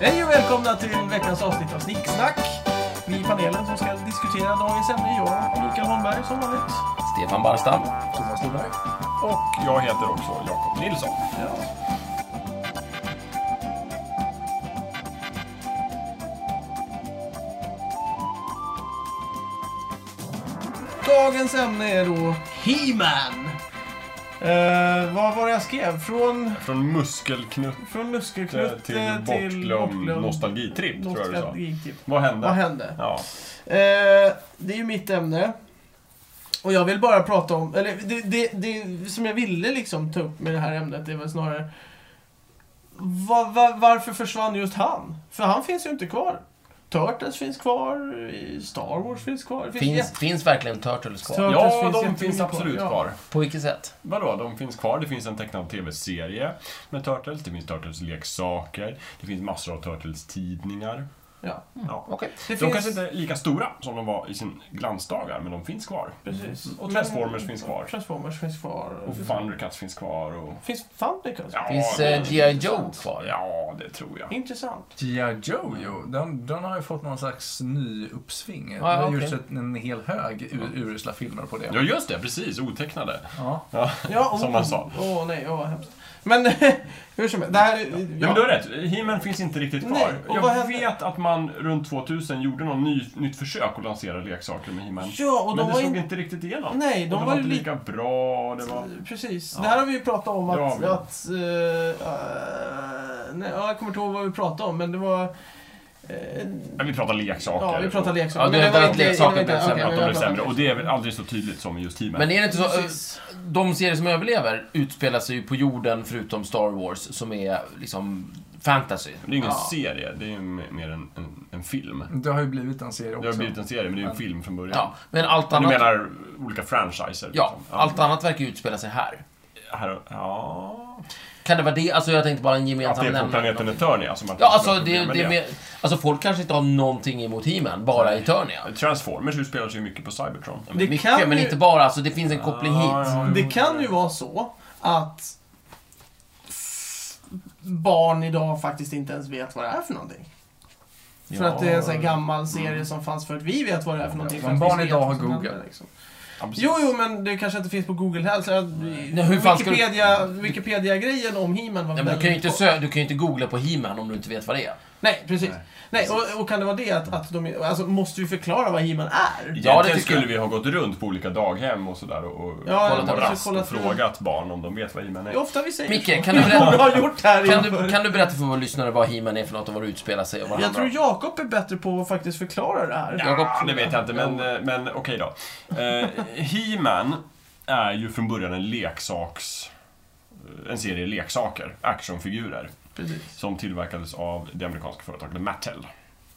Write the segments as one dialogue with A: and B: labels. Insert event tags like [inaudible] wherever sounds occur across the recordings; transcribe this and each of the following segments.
A: Hej och välkomna till veckans avsnitt av Snicksnack. Vi i panelen som ska diskutera dagens ämne är jag, Mikael Holmberg, som vanligt.
B: Stefan Barstam.
A: Thomas Norberg.
C: Och jag heter också Jakob Nilsson.
A: Ja. Dagens ämne är då He-Man. Eh, vad var det jag skrev? Från,
C: Från muskelknutte
A: från eh,
C: till,
A: muskelknutte
C: bortglömd nostalgitripp, tror jag du sa.
A: nostalgitripp.
C: Vad hände?
A: Vad hände?
C: Ja.
A: Eh, det är ju mitt ämne. Och jag vill bara prata om, eller det, det, det som jag ville liksom ta upp med det här ämnet är väl snarare va, va, varför försvann just han? För han finns ju inte kvar. Turtles finns kvar, i Star Wars finns kvar. det
B: Finns, finns verkligen Turtles kvar?
A: Tur- Turtles
C: ja,
A: finns
C: de
A: jättemycket
C: finns
A: kvar,
C: absolut
A: ja.
C: kvar.
B: På vilket sätt?
C: Vadå, de finns kvar. Det finns en tecknad tv-serie med Turtles. Det finns Turtles-leksaker. Det finns massor av Turtles-tidningar.
A: Ja.
C: Ja.
B: Okej.
A: Mm, Det
C: De
A: finns...
C: kanske inte är lika stora som de var i sin glansdagar, men de finns kvar.
A: Precis.
C: Och Transformers finns kvar.
A: Transformers finns kvar.
C: Och Thundercats finns kvar. Och...
A: Finns Thundercats?
C: Ja,
B: Finns
C: det-
B: eh, G.I. Joe kvar?
C: Ja, det tror jag. [laughs]
A: Intressant.
D: G.I. Joe, jo. Den, den har ju fått någon slags ny uppsving. det
B: ja,
D: har
B: okej.
D: gjorts ett, en hel hög ur, urusla filmer på det.
C: Ja, just det. Precis. Otecknade.
D: Ja.
C: Ja.
A: Ja,
C: Som
A: oh,
C: man sa.
A: Åh nej, ja, vad hemskt. Men [laughs] hur som helst, det här... Ja.
C: Ja, men du har rätt. He-Man finns inte riktigt kvar.
A: Nej, och vad
C: jag
A: hände?
C: vet att man runt 2000 gjorde något ny, nytt försök att lansera leksaker med He-Man.
A: Ja, och de
C: men det
A: var
C: slog
A: inte...
C: inte riktigt igenom.
A: Nej,
C: Och
A: de var ju
C: inte
A: li-
C: lika bra. Det var...
A: Precis.
C: Ja.
A: Det här har vi ju pratat om att...
C: Det har vi.
A: att eh, eh, nej, ja, jag kommer inte ihåg vad vi pratade om, men det var... eh,
C: Ja, vi pratar leksaker.
A: ja, vi pratade leksaker.
B: Ja,
A: men
B: det
A: var
B: var
A: inte-
B: att leksaker
A: det var inte-
B: blev
A: okej,
B: sämre,
C: Att
A: men
C: de
A: jag
C: blev sämre.
A: pratar-
C: Och det är väl aldrig så tydligt som just He-Man.
B: Men är det inte så... eh,
A: Precis.
B: De serier som överlever utspelar sig ju på jorden förutom Star Wars som är liksom fantasy.
C: Det är ju ingen
A: Ja.
C: serie. Det är ju mer en, en, en film.
D: Det har ju blivit en serie
C: Det har
D: också.
C: blivit en serie, men det är ju en film från början.
B: Ja, men allt
C: Men Du
B: annat...
C: menar olika franchiser?
B: Ja,
C: liksom.
B: allt annat verkar ju utspela sig här.
C: Här, ja...
B: Kan det vara det? Alltså jag tänkte bara en
C: Att
B: gemensam
C: det är från planeten
B: Någonting.
C: Eternia som man
B: Ja,
C: har
B: alltså det,
C: problem med
B: det är mer... Alltså folk kanske inte har någonting emot He-Man, bara Eternia.
C: Transformers utspelar sig ju mycket på Cybertron.
A: Det
B: Mycket,
A: kan
B: men
A: ju-
B: inte bara. Alltså det finns en koppling hit.
C: Ja, ja, jo,
A: Det kan ju vara så att f- barn idag faktiskt inte ens vet vad det är för någonting. För
B: Ja.
A: att det är en sån här gammal serie som fanns förut. Vi vet vad det är för någonting.
D: Ja,
A: för att
D: men barn
A: vi vet
D: idag
A: vad
D: har
A: som händer,
D: Google.
A: liksom.
C: Ja, precis.
A: Jo, jo, men det kanske inte finns på Google heller. så att-
B: hur fan ska du-
A: Wikipedia, Wikipedia-grejen om He-Man var
B: Ja, men du kan ju
A: väldigt
B: inte,
A: kort.
B: sö- du kan ju inte googla på He-Man om du inte vet vad det är.
A: Nej, precis.
C: Nej.
A: Nej, och, och kan det vara det att, att de... Alltså, måste vi förklara vad He-Man är?
B: Ja, det
C: Egentligen
B: tycker
C: skulle
B: jag.
C: vi ha gått runt på olika daghem och sådär och, och
A: Ja,
C: kollat
B: ja,
C: på
B: precis,
C: rast
A: kollat
C: och
A: för-
C: frågat barn om de vet vad He-Man
A: Det
C: är.
A: är ofta vi säger så. [laughs]
B: Micke, kan du
A: Du
B: berätta,
A: har gjort det här
B: kan
A: inför.
B: du, kan du berätta för våra lyssnare vad He-Man är för något och var det utspelar sig och vad det
A: Jag
B: handlar
A: tror
B: om?
A: Jakob är bättre på att faktiskt förklara det här.
B: Jakob,
C: Ja, det vet jag inte, men, eh, men okej då. Eh, He-Man är ju från början en leksaks... En serie leksaker, actionfigurer,
A: Precis.
C: som tillverkades av det amerikanska företaget Mattel.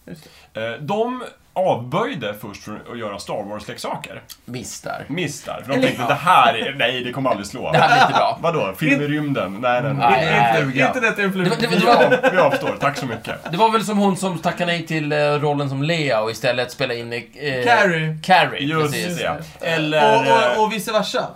A: Just det.
C: Eh, De avböjde först från att göra Star Wars-leksaker.
B: Miss där.
C: Miss där, för de
A: Eller-
C: tänkte det här är, nej det kommer aldrig slå.
B: Det här blir inte bra.
C: [laughs] Vadå, film i rymden? Nej, nej, nej.
B: Nej, nej, nej.
D: Fluga.
A: Internet är en
B: Det
A: fluga.
B: var, det, var,
C: Vi,
B: det, var,
C: av, vi avstår, tack så mycket.
B: det var väl som hon som tackade nej till eh, rollen som Lea och istället spelade in... Eh,
A: Carrie.
B: Carrie,
C: Just
B: precis.
C: det.
A: Och,
C: Eller...
A: och, och vice versa.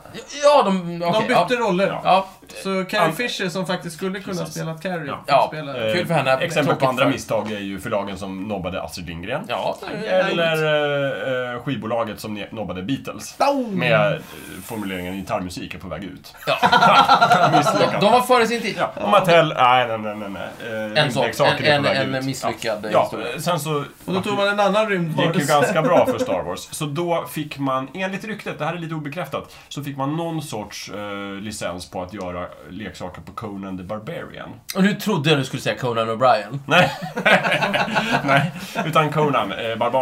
B: Ja, de...
A: De
B: okej,
A: bytte
B: ja.
A: roller.
B: Ja,
A: Så Carrie
C: An-
A: Fisher som faktiskt skulle kunna
C: Precis.
A: spela Carrie.
C: Ja.
B: Ja.
A: Spelar.
C: eh,
B: kul för henne.
C: Exempel på
B: Tråkigt
C: andra
B: för-
C: misstag är ju förlagen som nobbade Astrid Lindgren.
B: ja.
C: Eller eh, eh, skivbolaget som ne- nobbade Beatles.
A: Boom!
C: Med eh, formuleringen gitarrmusik är på väg ut. [laughs]
B: ja. De,
C: Misslyckat.
B: de var före sin tid.
C: Ja, och Mattel, nej, nej, nej, nej, nej. Eh,
B: En sån,
C: rymdleksaker är
B: en,
C: på väg
B: en, en
C: ut.
B: misslyckad eh,
C: Ja,
B: historia.
C: ja sen så...
A: Och då tog man en annan [laughs]
C: Det gick ju
A: rymdvarelse.
C: ganska bra för Star Wars. Så då fick man, enligt ryktet, det här är lite obekräftat, så fick man någon sorts eh, licens på att göra leksaker på Conan the Barbarian.
B: Och nu trodde jag du skulle säga Conan O'Brien.
C: Nej, Nej. utan Conan, eh, barbaren. Eh,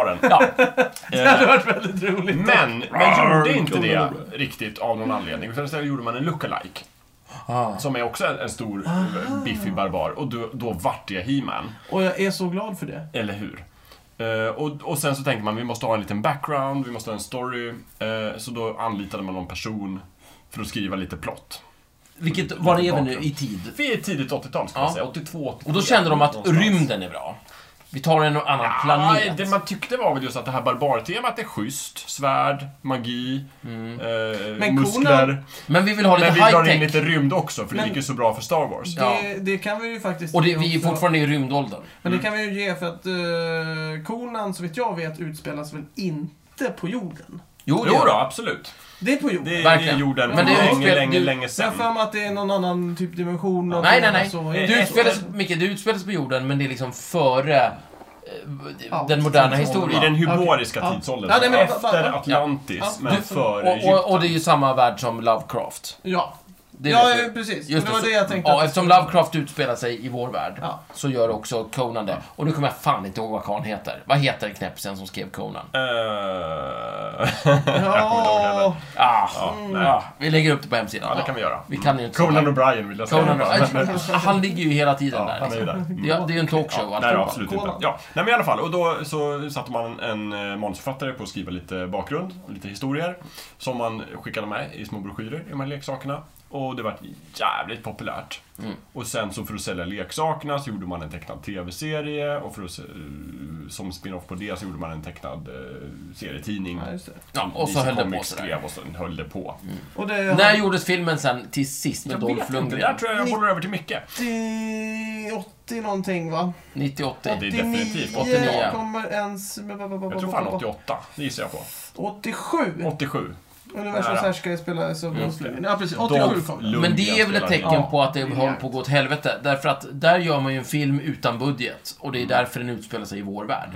B: Ja.
A: Det hade varit väldigt roligt.
C: Men man gjorde inte
A: Conan
C: det
A: O'Brien.
C: riktigt av någon anledning. Utan istället gjorde man en lookalike.
B: Ah.
C: Som är också en, en stor, eh, biffig barbar. Och då, då vart det He-Man.
A: Och jag är så glad för det.
C: Eller hur? Eh, och, och sen så tänkte man, vi måste ha en liten background, vi måste ha en story. Eh, så då anlitade man någon person för att skriva lite plott.
B: Vilket, var lever nu i tid?
C: Vi är tidigt 80-tal, ska
B: Ja.
C: man säga. 82, 83.
B: Och då kände de att
C: någonstans.
B: rymden är bra. Vi tar en annan
C: Ja,
B: planet.
C: Ah, det man tyckte var väl just att det här barbartemat är schysst. Svärd, magi, eh,
A: Mm. Men
C: muskler.
A: korna-
B: Men vi vill ha lite
C: Men vi drar in
B: high-tech.
C: lite rymd också, för det
A: Men-
C: gick ju så bra för Star Wars.
A: Det, det kan vi ju faktiskt
B: Och det,
A: ge
B: vi är
A: också.
B: fortfarande Mm. i rymdåldern.
A: Men det kan vi ju ge för att uh, Conan, så vitt jag vet, utspelas väl inte på jorden?
B: Jo, det
C: Jo
B: gör
C: då,
B: det.
C: absolut.
A: Det är på jorden.
C: Det, det är
B: Verkligen.
C: jorden
A: Men
C: för
A: det är
C: länge,
B: utspel-
C: länge,
B: du-
C: länge
A: Jag har
C: sen.
A: för mig att det är någon annan typ dimension. och
B: Nej, nej,
A: sådana
B: nej.
A: så-
B: Du
C: Det
B: utspelas, Micke, du utspelas på jorden, men det är liksom före eh,
A: Allt.
B: den moderna
C: I
B: historien.
C: den hyboriska
A: Okej.
C: tidsåldern.
A: Ja. Ja, nej, men-
C: efter Atlantis,
A: Ja.
C: men
A: Du-
C: före
B: Och,
C: Egypten.
B: och, och det är ju samma värld som Lovecraft.
A: Ja,
B: Det
A: ja
B: vet vi.
A: eh, precis.
B: Just
A: det var
B: så-
A: det jag tänkte.
B: Ja,
A: att-
B: eftersom Lovecraft utspelar sig i vår värld
A: Ja.
B: så gör också Conan det. Och nu kommer jag fan inte ihåg vad karln heter. Vad heter knäppisen som skrev Conan?
C: Eh, [laughs] jag kommer inte ihåg heller.
A: Ja,
B: Ah,
C: Ja, nej.
B: ah, vi lägger upp det på hemsidan.
C: Ja, det kan vi göra.
B: Vi kan ju inte
C: Conan O'Brien vill jag säga. [laughs]
B: Conan
C: bara. Men-
B: O'Brien. Han ligger ju hela tiden
C: Ja,
B: där.
C: han är ju
B: Liksom.
C: där. Mm.
B: Det, är- det är ju en talkshow.
C: Nej,
B: alltihopa.
C: absolut inte.
A: Kolan.
C: Ja. Nej, men i alla fall. Och då så satte man en eh, manusförfattare på att skriva lite bakgrund, lite historier, som man skickade med i små broschyrer, i de här leksakerna. Och det var jävligt populärt.
B: Mm.
C: Och sen så för att sälja leksakerna så gjorde man en tecknad TV-serie och för att, se- som spin-off på det så gjorde man en tecknad eh, serietidning.
A: Ja, just det.
B: Ja, och så
C: DC
B: höll det på
C: Comics
B: sådär. Mm.
C: skrev och sen höll det på.
A: Och det
B: När gjordes filmen sen till sist med
C: Jag
B: Dolph
C: vet inte, där
B: Lundgren?
C: tror jag jag bollar över till Micke.
A: 80, 80 någonting va?
B: 90-80?
C: det är definitivt
B: 89.
A: kommer ens... Jag
C: Jag tror fan 88, det gissar jag på.
A: 87.
C: 87.
A: Universums
C: Nära.
A: härskare spelades av Bruce Lee. Ja, precis. 87
C: Dolph
A: kom det.
C: Lundgren
B: Men det är väl ett
C: spelade
B: tecken
A: Ja.
B: på att det håller på att gå åt helvete. Därför att där gör man ju en film utan budget. Och
C: Mm.
B: det är därför den utspelar sig i vår värld.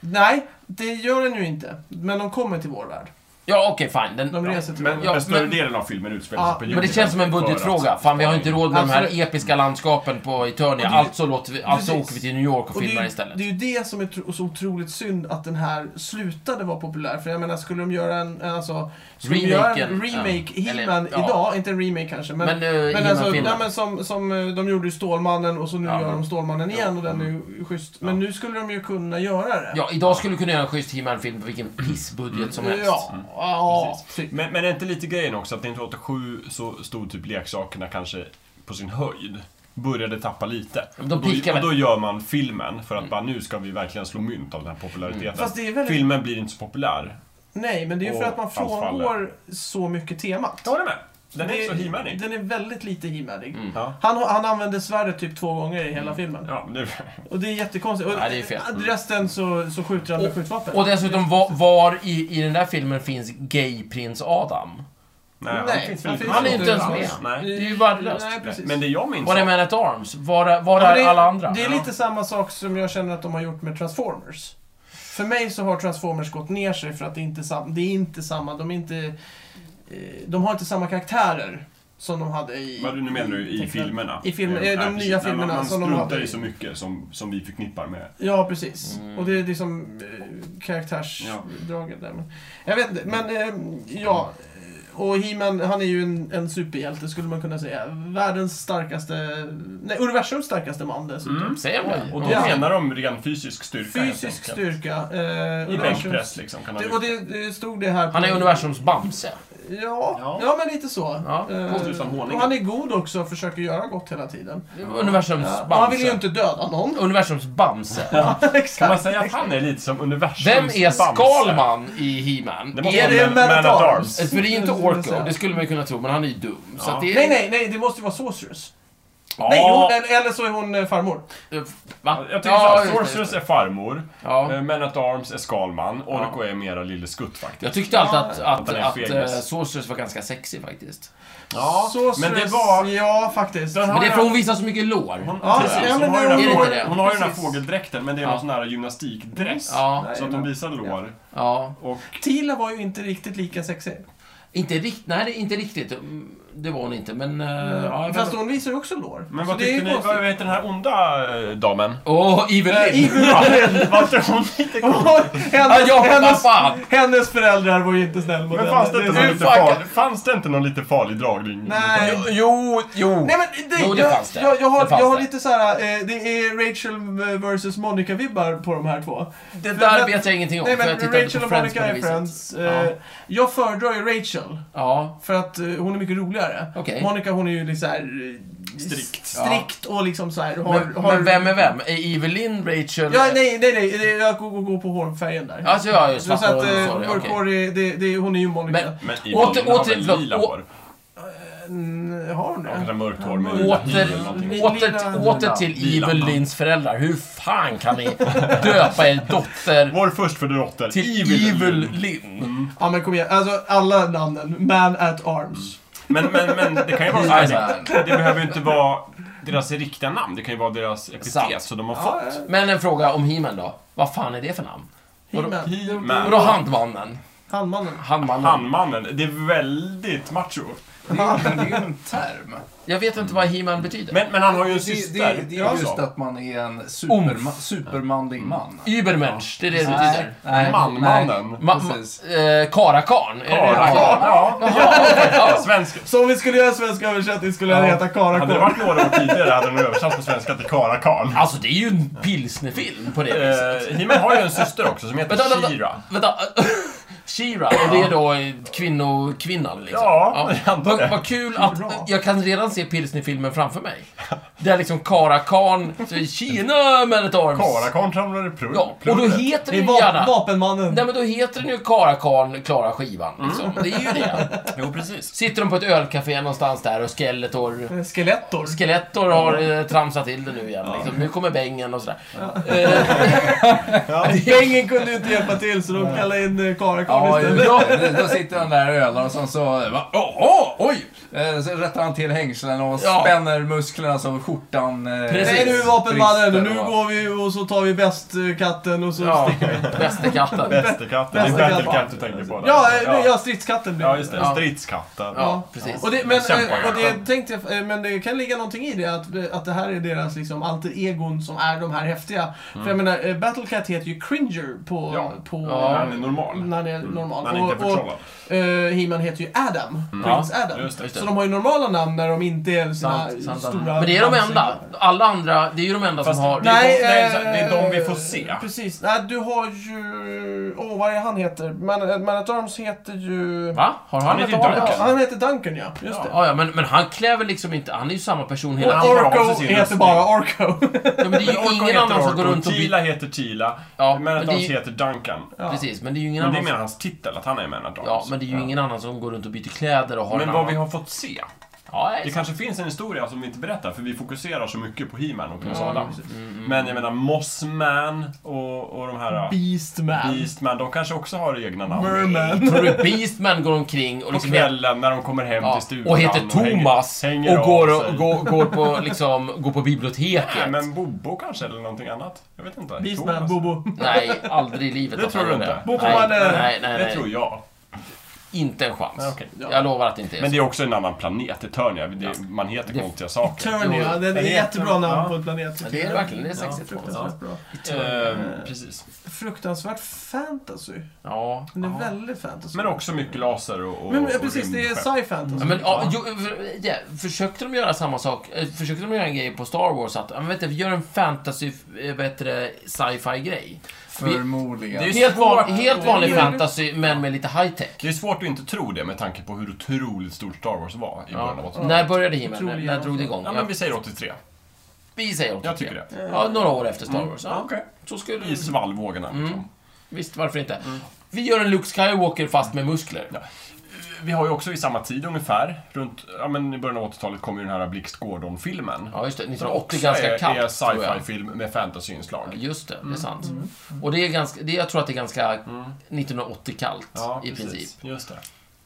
A: Nej, det gör den ju inte. Men de kommer till vår värld.
B: Ja, okej, fine. Den,
A: De reser till
C: Men
A: vår
B: Ja,
A: värld.
C: den större
B: men-
C: delen av filmen utspelar sig
A: Ja,
C: på
A: men
B: men det känns som en
C: för att
B: budgetfråga. Fan, vi har inte råd med de här
A: Absolut.
B: episka landskapen på
A: Alltså, Och
B: Eternia.
A: det-
B: Alltså, låter vi, alltså
A: Precis.
B: åker vi till New York och
A: Och det,
B: filmar
A: är ju,
B: istället.
A: det är ju det som är tro- så otroligt synd att den här slutade vara populär. För jag menar, skulle de göra en, alltså, skulle de göra en
B: Remaken,
A: remake
B: ja.
A: He-Man
B: Eller, ja.
A: idag, inte en remake kanske, men,
B: Men, eh,
A: men, alltså,
B: He-Man-filmen.
A: nej, men som, som eh, de gjorde ju Stålmannen och så nu
B: Ja. Mm.
A: gör de Stålmannen igen och den är ju schysst. Men nu skulle de ju kunna göra det.
B: Ja, idag skulle du kunna göra en schysst He-Man-film på vilken pissbudget som helst.
A: Mm.
B: Mm.
A: Ja, ja, typ.
C: Precis. Men, men är inte lite grejen också att 1987 så stod typ leksakerna kanske på sin höjd. Började tappa lite.
B: Men då
C: Och
B: pickar
C: och
B: väl- Mm.
C: då gör man filmen för att bara nu ska vi verkligen slå mynt av den här populariteten.
A: Fast det är väldigt-
C: Filmen blir inte så populär.
A: Nej, men det är ju för
C: Och
A: att man
C: allt faller.
A: frångår så mycket temat.
C: Jag håller med. Den är
A: Det-
C: inte så himmelig.
A: Den är väldigt lite himmelig.
B: Mm.
C: Ja.
A: Han, han använder svärdet typ två gånger i hela filmen.
C: Ja, det... [laughs]
A: Och det är jättekonstigt. Och
B: Nej, det är fel. Mm.
A: Resten så, så skjuter han med
B: Och-
A: skjutvapen.
B: Och dessutom, var, var i, i den där filmen finns gay-prins Adam?
C: Nej, han
A: Nej,
C: finns väl
A: han
C: inte
A: finns
C: med.
B: Han är inte ens med.
A: alls.
C: Nej.
B: Det är ju värdelöst.
A: Nej, precis.
C: Men det jag minns...
B: Var är Man at Arms? Var är, var
A: Ja, men
B: är
A: det-
B: alla andra?
A: Det är lite samma sak som jag känner att de har gjort med Transformers. För mig så har Transformers gått ner sig för att det är inte sam- det är inte samma. De, är inte, eh, de har inte samma karaktärer som de hade i...
C: Vad du nu menar du i filmerna?
A: I film-
C: Eh,
A: eh, de nya
C: nej, precis. Nej, man-
A: filmerna
C: Man
A: som de
C: struntar
A: hade.
C: i så mycket som, som vi förknippar med
A: Ja, precis.
B: Mm.
A: Och det är liksom eh, karaktärsdraget där. Men, jag vet inte, men eh, ja. Och He-Man, han är ju en, en superhjälte skulle man kunna säga. Världens starkaste, nej universums starkaste man dessutom.
C: Mm.
B: Säger de det?
C: Och då
A: Ja.
C: menar de ren fysisk styrka helt
A: Fysisk
C: enkelt.
A: styrka. Eh,
C: I
A: universums-
C: bänkpress liksom. Kan
A: Det,
C: han
A: och det, det stod det här på...
B: Han är universums Bamse.
A: Ja,
C: Ja.
A: ja. men lite så.
B: Ja,
A: Eh,
C: konstigt utan honung.
A: och han är god också och försöker göra gott hela tiden.
B: Universums
A: Ja. Och
B: Bamse.
A: han vill ju inte döda någon.
B: Universums Bamse.
A: [laughs] Exakt.
C: Kan man säga att han är lite som universums
B: Vem är
C: Bamse?
B: Skalman i He-Man?
C: Det måste
B: Är
C: vara
B: det...
A: det-
C: Man- Man at Arms.
B: För det är inte
A: Det skulle jag
B: Orko,
A: säga.
B: det skulle man ju kunna tro, men han är ju dum. Så
C: Ja.
B: att det är...
A: Nej, nej, nej, det måste ju vara Sorceress.
B: Ja.
A: Nej, hon, eller- eller så är hon eh, farmor.
B: Va?
C: Jag tycker så här,
B: just det, just
C: Sorceress är farmor,
B: det. Ja.
C: eh, Man at Arms är Skalman, Orko är mera Lille Skutt faktiskt.
B: Jag tyckte alltid att, att,
C: Att han är
B: att,
C: fegis.
B: eh, Sorceress var ganska sexig faktiskt.
C: Ja,
A: Sorceress,
C: men det var...
A: Ja, faktiskt.
C: Den
B: Men det är
C: har-
B: för hon visar så mycket lår.
C: Hon,
A: Ja,
C: precis,
A: ja,
C: hon,
A: men
C: har ju
A: det-
C: den
B: är
C: här
B: det
C: fågel,
B: det?
C: hon har ju den här
A: Precis.
C: fågeldräkten, men det är
B: Ja.
C: någon sån här gymnastikdräkt.
B: Ja,
A: Nej,
C: Så att de
A: men-
C: visar lår.
B: ja.
C: Och
A: Tila var ju inte riktigt lika sexig.
B: Inte riktigt, nej det är inte riktigt. Mm, Det var hon inte, men... eh, ja, jag
A: Mm. Fast
B: vet-
A: hon visar ju också lår.
C: Men
A: Så
C: vad
A: det är ju
C: tyckte ni?
A: konstigt.
C: Vad heter den här onda eh, damen?
B: Åh, Evil
A: Eh, [laughs]
B: Lynn!
A: Evil
C: [laughs]
A: Lynn.
C: Varför hon inte kom?
A: hennes,
B: Ja, vad
A: hennes,
B: fan!
A: hennes föräldrar var ju inte snäll mot
C: Men
A: henne.
C: fanns det, inte
A: Det-
C: någon lite
B: fucking-
C: farlig, fanns det inte någon lite farlig dragning? mot
A: Nej.
C: henne?
B: Jo, jo!
A: Nej men det,
B: Jo, det
A: jag,
B: fanns det.
A: Jag, jag har,
B: Det fanns
A: jag har
B: det.
A: lite så här. Eh, det är Rachel vs Monica-vibbar på de här två.
B: Det
A: För-
B: där
A: men-
B: vet jag ingenting om,
A: Nej
B: för
A: men
B: jag tittar
A: Rachel
B: inte på
A: och
B: Friends på
A: Monica
B: det
A: är
B: viset.
A: friends. Eh, Jag föredrar ju Rachel.
B: Ja.
A: För att eh, hon är mycket roligare. skådespelare.
B: Okej.
A: Monica hon är ju lite såhär...
C: Strikt.
A: Strikt och liksom såhär... Har,
B: Men,
A: har...
B: men vem är vem? Är Evelyn, Rachel?
A: Ja, nej, nej, nej. det- Jag går, går, går på hårfärgen där.
B: Alltså, ja, just
A: så
B: svarta
A: att
B: och-
A: eh,
B: sorry,
A: mörkhårig, det, det, hon är ju Monica.
B: Men-
C: Men Evelyn
B: Åter-
C: har
B: åter-
C: väl
B: förlåt,
C: lila
B: å-
C: hår?
A: Mm, har hon
C: Ja, kanske
A: det?
C: mörkt hår med lila hy
B: Åter,
C: eller någonting.
A: Lilla-
B: åter, åter till
C: Lilla.
B: Evelyns föräldrar. Hur fan kan ni döpa er dotter
C: Vår förstfödda dotter,
B: till
C: Evelyn.
B: Evil Lynn?
A: Ja, men kom igen. Alltså, alla namnen. Man at Arms.
C: Men, men, men det kan ju vara så här, det, det behöver ju inte vara deras riktiga namn. Det kan ju vara deras
B: Sant.
C: epitet som de har
A: Ja, ja.
C: fått.
B: Men en fråga om He-Man då. Vad fan är det för namn?
C: Mm.
A: He-Man.
C: Men-
B: Vadå handmannen?
A: Handmannen.
B: Handmannen?
C: Handmannen, det är väldigt macho.
D: Det är, det är ju en term.
B: Jag vet inte vad He-Man betyder.
C: Men, men han har ju en
D: Det,
C: syster. Alltså.
D: det, det är
C: Ja,
D: just
C: så.
D: att man är en superma, supermanlig man.
B: Übermensch, det är det det
D: Nej,
B: betyder.
D: nej,
C: Manmannen.
D: nej,
B: Ma-
D: Precis.
B: ma- eh, Karakarn? är det det det
C: Karakar.
B: betyder?
C: Ja, ja. Svensk.
A: Så om vi skulle göra svensk översättning skulle den
D: Ja.
A: heta
C: Hade det
A: Karakor.
C: varit några år tidigare hade den översatt på svenska till Karakarl.
B: [laughs] Alltså det är ju en pilsnerfilm på det viset.
C: Eh, He-Man har ju en syster också som heter
B: Vänta, vänta.
C: Shira.
B: Vänta. [laughs] Shira, och det är då kvinnokvinnan liksom?
C: Ja, jag antar
B: Vad
C: det.
B: vad kul att jag kan redan se pilsnerfilmen framför mig. Där liksom Karakarn, så är Kina med ett arms.
C: Karakarn samlade plur.
B: Ja, och då heter
A: Det
B: den
A: är
B: ju gärna...
A: va- Vapenmannen.
B: Nej men då heter den ju Karakarn, Klara Skivan liksom. Det är ju det.
C: Mm. [laughs] Jo, precis.
B: Sitter de på ett ölcafé någonstans där och Skeletor...
A: Eh, Skeletor.
B: Skeletor har eh, tramsat till det nu igen. Liksom. Nu kommer bängen och sådär. Eh, [laughs]
A: Gängen kunde ju inte hjälpa till så de kallade in eh,
D: Ja,
A: Karakor
D: ju,
A: istället.
D: då, då sitter han där och ölar och sen så... va? Åh, åh, oj! Eh, Så rättar han till hängslen och
B: Ja.
D: spänner musklerna så skjortan... eh,
B: Precis.
A: Nej nu Vapenmannen,
D: brister
A: nu
D: och-
A: går vi och så tar vi bäst eh, katten och så
B: Ja,
A: sticker vi.
B: Västerkatten.
C: Bästekatten. Det är
A: Bästekatten.
C: Battlekatt du tänker på. där.
A: Ja, eh, nej, ja, stridskatten blir
C: Ja, just
B: Ja.
C: det. Stridskatten.
B: Ja, precis.
A: Och det, men, eh,
C: Kämpa,
A: och det, tänkte jag, eh, men det kan ligga någonting i det, att, eh, att det här är deras liksom, alter egon som är de här häftiga. För jag menar, eh, Battlecat heter ju Cringer på...
C: Mm. Ja.
A: på
B: Ja.
C: Han är normal.
A: När det är normal.
C: Han är inte
A: och och
C: förtrollad. Mm.
A: eh, He-Man heter ju Adam. Prins Adam.
C: Just det.
A: Så de har ju normala namn när de inte är sina
B: Sant, sant, sant.
A: stora...
B: Men det är de enda.
A: namnsinglar.
B: Alla andra, det är ju de enda
C: Fast
B: som har...
C: det, är
A: Nej,
C: de, nej, så- det är
A: eh,
C: de vi får se.
A: Precis. Nej, du har ju... Åh, vad är han heter? Man, Man at Arms heter ju...
B: Va? Har han,
C: Han
B: ett
C: heter ju
B: Arnold?
A: Ja,
C: Duncan.
A: han heter Duncan, ja. Just det.
B: Ja, ja, men, men han klär väl liksom inte... Han är ju samma person hela
C: Ja.
B: tiden.
A: Och
C: har
A: Orko
C: också sin
A: heter
C: rustning.
A: bara
C: [laughs]
A: Orko.
B: Ja, men det är
C: Men
B: ju
C: Orko
B: ingen
C: heter
B: annan som går
C: Orko,
B: runt och...
C: Tila heter Tila.
B: Ja,
C: men
B: men
C: att
B: det är
C: han
B: ju-
C: heter Duncan.
A: Ja.
B: Precis, men det är ju ingen
C: Men det är
B: annan
C: mer
B: som...
C: hans titel, att han är Man at Arms.
B: Ja, men det är ju ingen annan som går runt och byter kläder och har
C: Men
B: en
C: vad
B: annan-
C: vi har fått se.
B: Ja, det är
C: Det
B: sant.
C: kanske finns en historia som vi inte berättar, för vi fokuserar så mycket på He-Man och
B: Mm.
C: Prins Adam. Men jag menar, Mossman och, och de här... äh,
A: Beastman.
C: Beastman, de kanske också har egna namn.
A: Merman.
B: Tror du Beastman går omkring och
C: På
B: liksom...
C: kvällen när de kommer hem
B: Ja,
C: till stugan.
B: och heter Thomas och,
C: hänger- hänger av
B: går,
C: sig.
B: och går, går, på, liksom, går på biblioteket.
C: Nej, men Bobo kanske, eller någonting annat. Jag vet inte.
A: Beastman,
C: Thomas.
A: Bobo.
B: Nej, aldrig i livet
C: Det
B: att
C: tror
B: han
C: du
B: gör
C: inte?
B: det.
A: Bo på
B: Nej,
A: mannen.
B: nej, nej,
C: eh, Det tror
B: nej.
C: jag.
B: Inte en chans.
C: Nej, okej.
B: Jag lovar att det inte är
C: Men
B: så.
C: det är också en annan planet, Eternia. Det, Man heter
B: Det-
C: konstiga saker.
A: Eternia, det är ett
C: Planeten.
A: jättebra namn
C: Ja.
A: på en planet.
B: Ja, det är det verkligen. Det är sexigt.
A: fruktansvärt bra.
C: Ehm, precis.
A: Fruktansvärt fantasy.
B: Ja.
A: Den är väldigt fantasy.
C: Men också mycket laser och, och
A: Men,
C: och
A: precis, det är
C: rymdskepp.
A: sci-fantasy.
B: Ja, men, ja, jo, för- ja, försökte de göra samma sak? eh, Försökte de göra en grej på Star Wars att, ja, men vet du, vi gör en fantasy, eh, bättre sci-fi grej.
D: Förmodligen.
C: Det är ju
B: Helt, van,
C: svårt.
B: helt vanlig
A: Ja.
B: fantasy, men med lite high-tech.
C: Det är svårt att inte tro det med tanke på hur otroligt stort Star Wars var i början av
B: Ja.
C: 80-talet.
B: När började himlen?
A: Otrolig
B: När drog det igång?
C: Ja,
B: Ja,
C: men vi säger 83.
B: vi säger 83.
C: Jag tycker det.
B: Ja, några år efter Star Wars. Ja,
C: Mm. Okej.
B: så skulle
C: I svallvågorna. Liksom.
B: Visst, varför inte?
C: Mm.
B: Vi gör en Luke Skywalker fast med muskler.
C: Ja. Vi har ju också i samma tid ungefär, runt, ja men i början av 80-talet kom ju den här Blixt Gordon-filmen.
B: Ja, just det.
C: Som
B: 1980
C: också
B: ganska
C: är,
B: kallt,
C: är
B: tror jag.
C: sci-fi-film med fantasy-inslag.
B: Just det, det är sant. Och det är ganska, det, jag tror att det är ganska 1980 kallt
C: Mm. Ja,
B: i
C: precis.
B: princip.
C: Just det.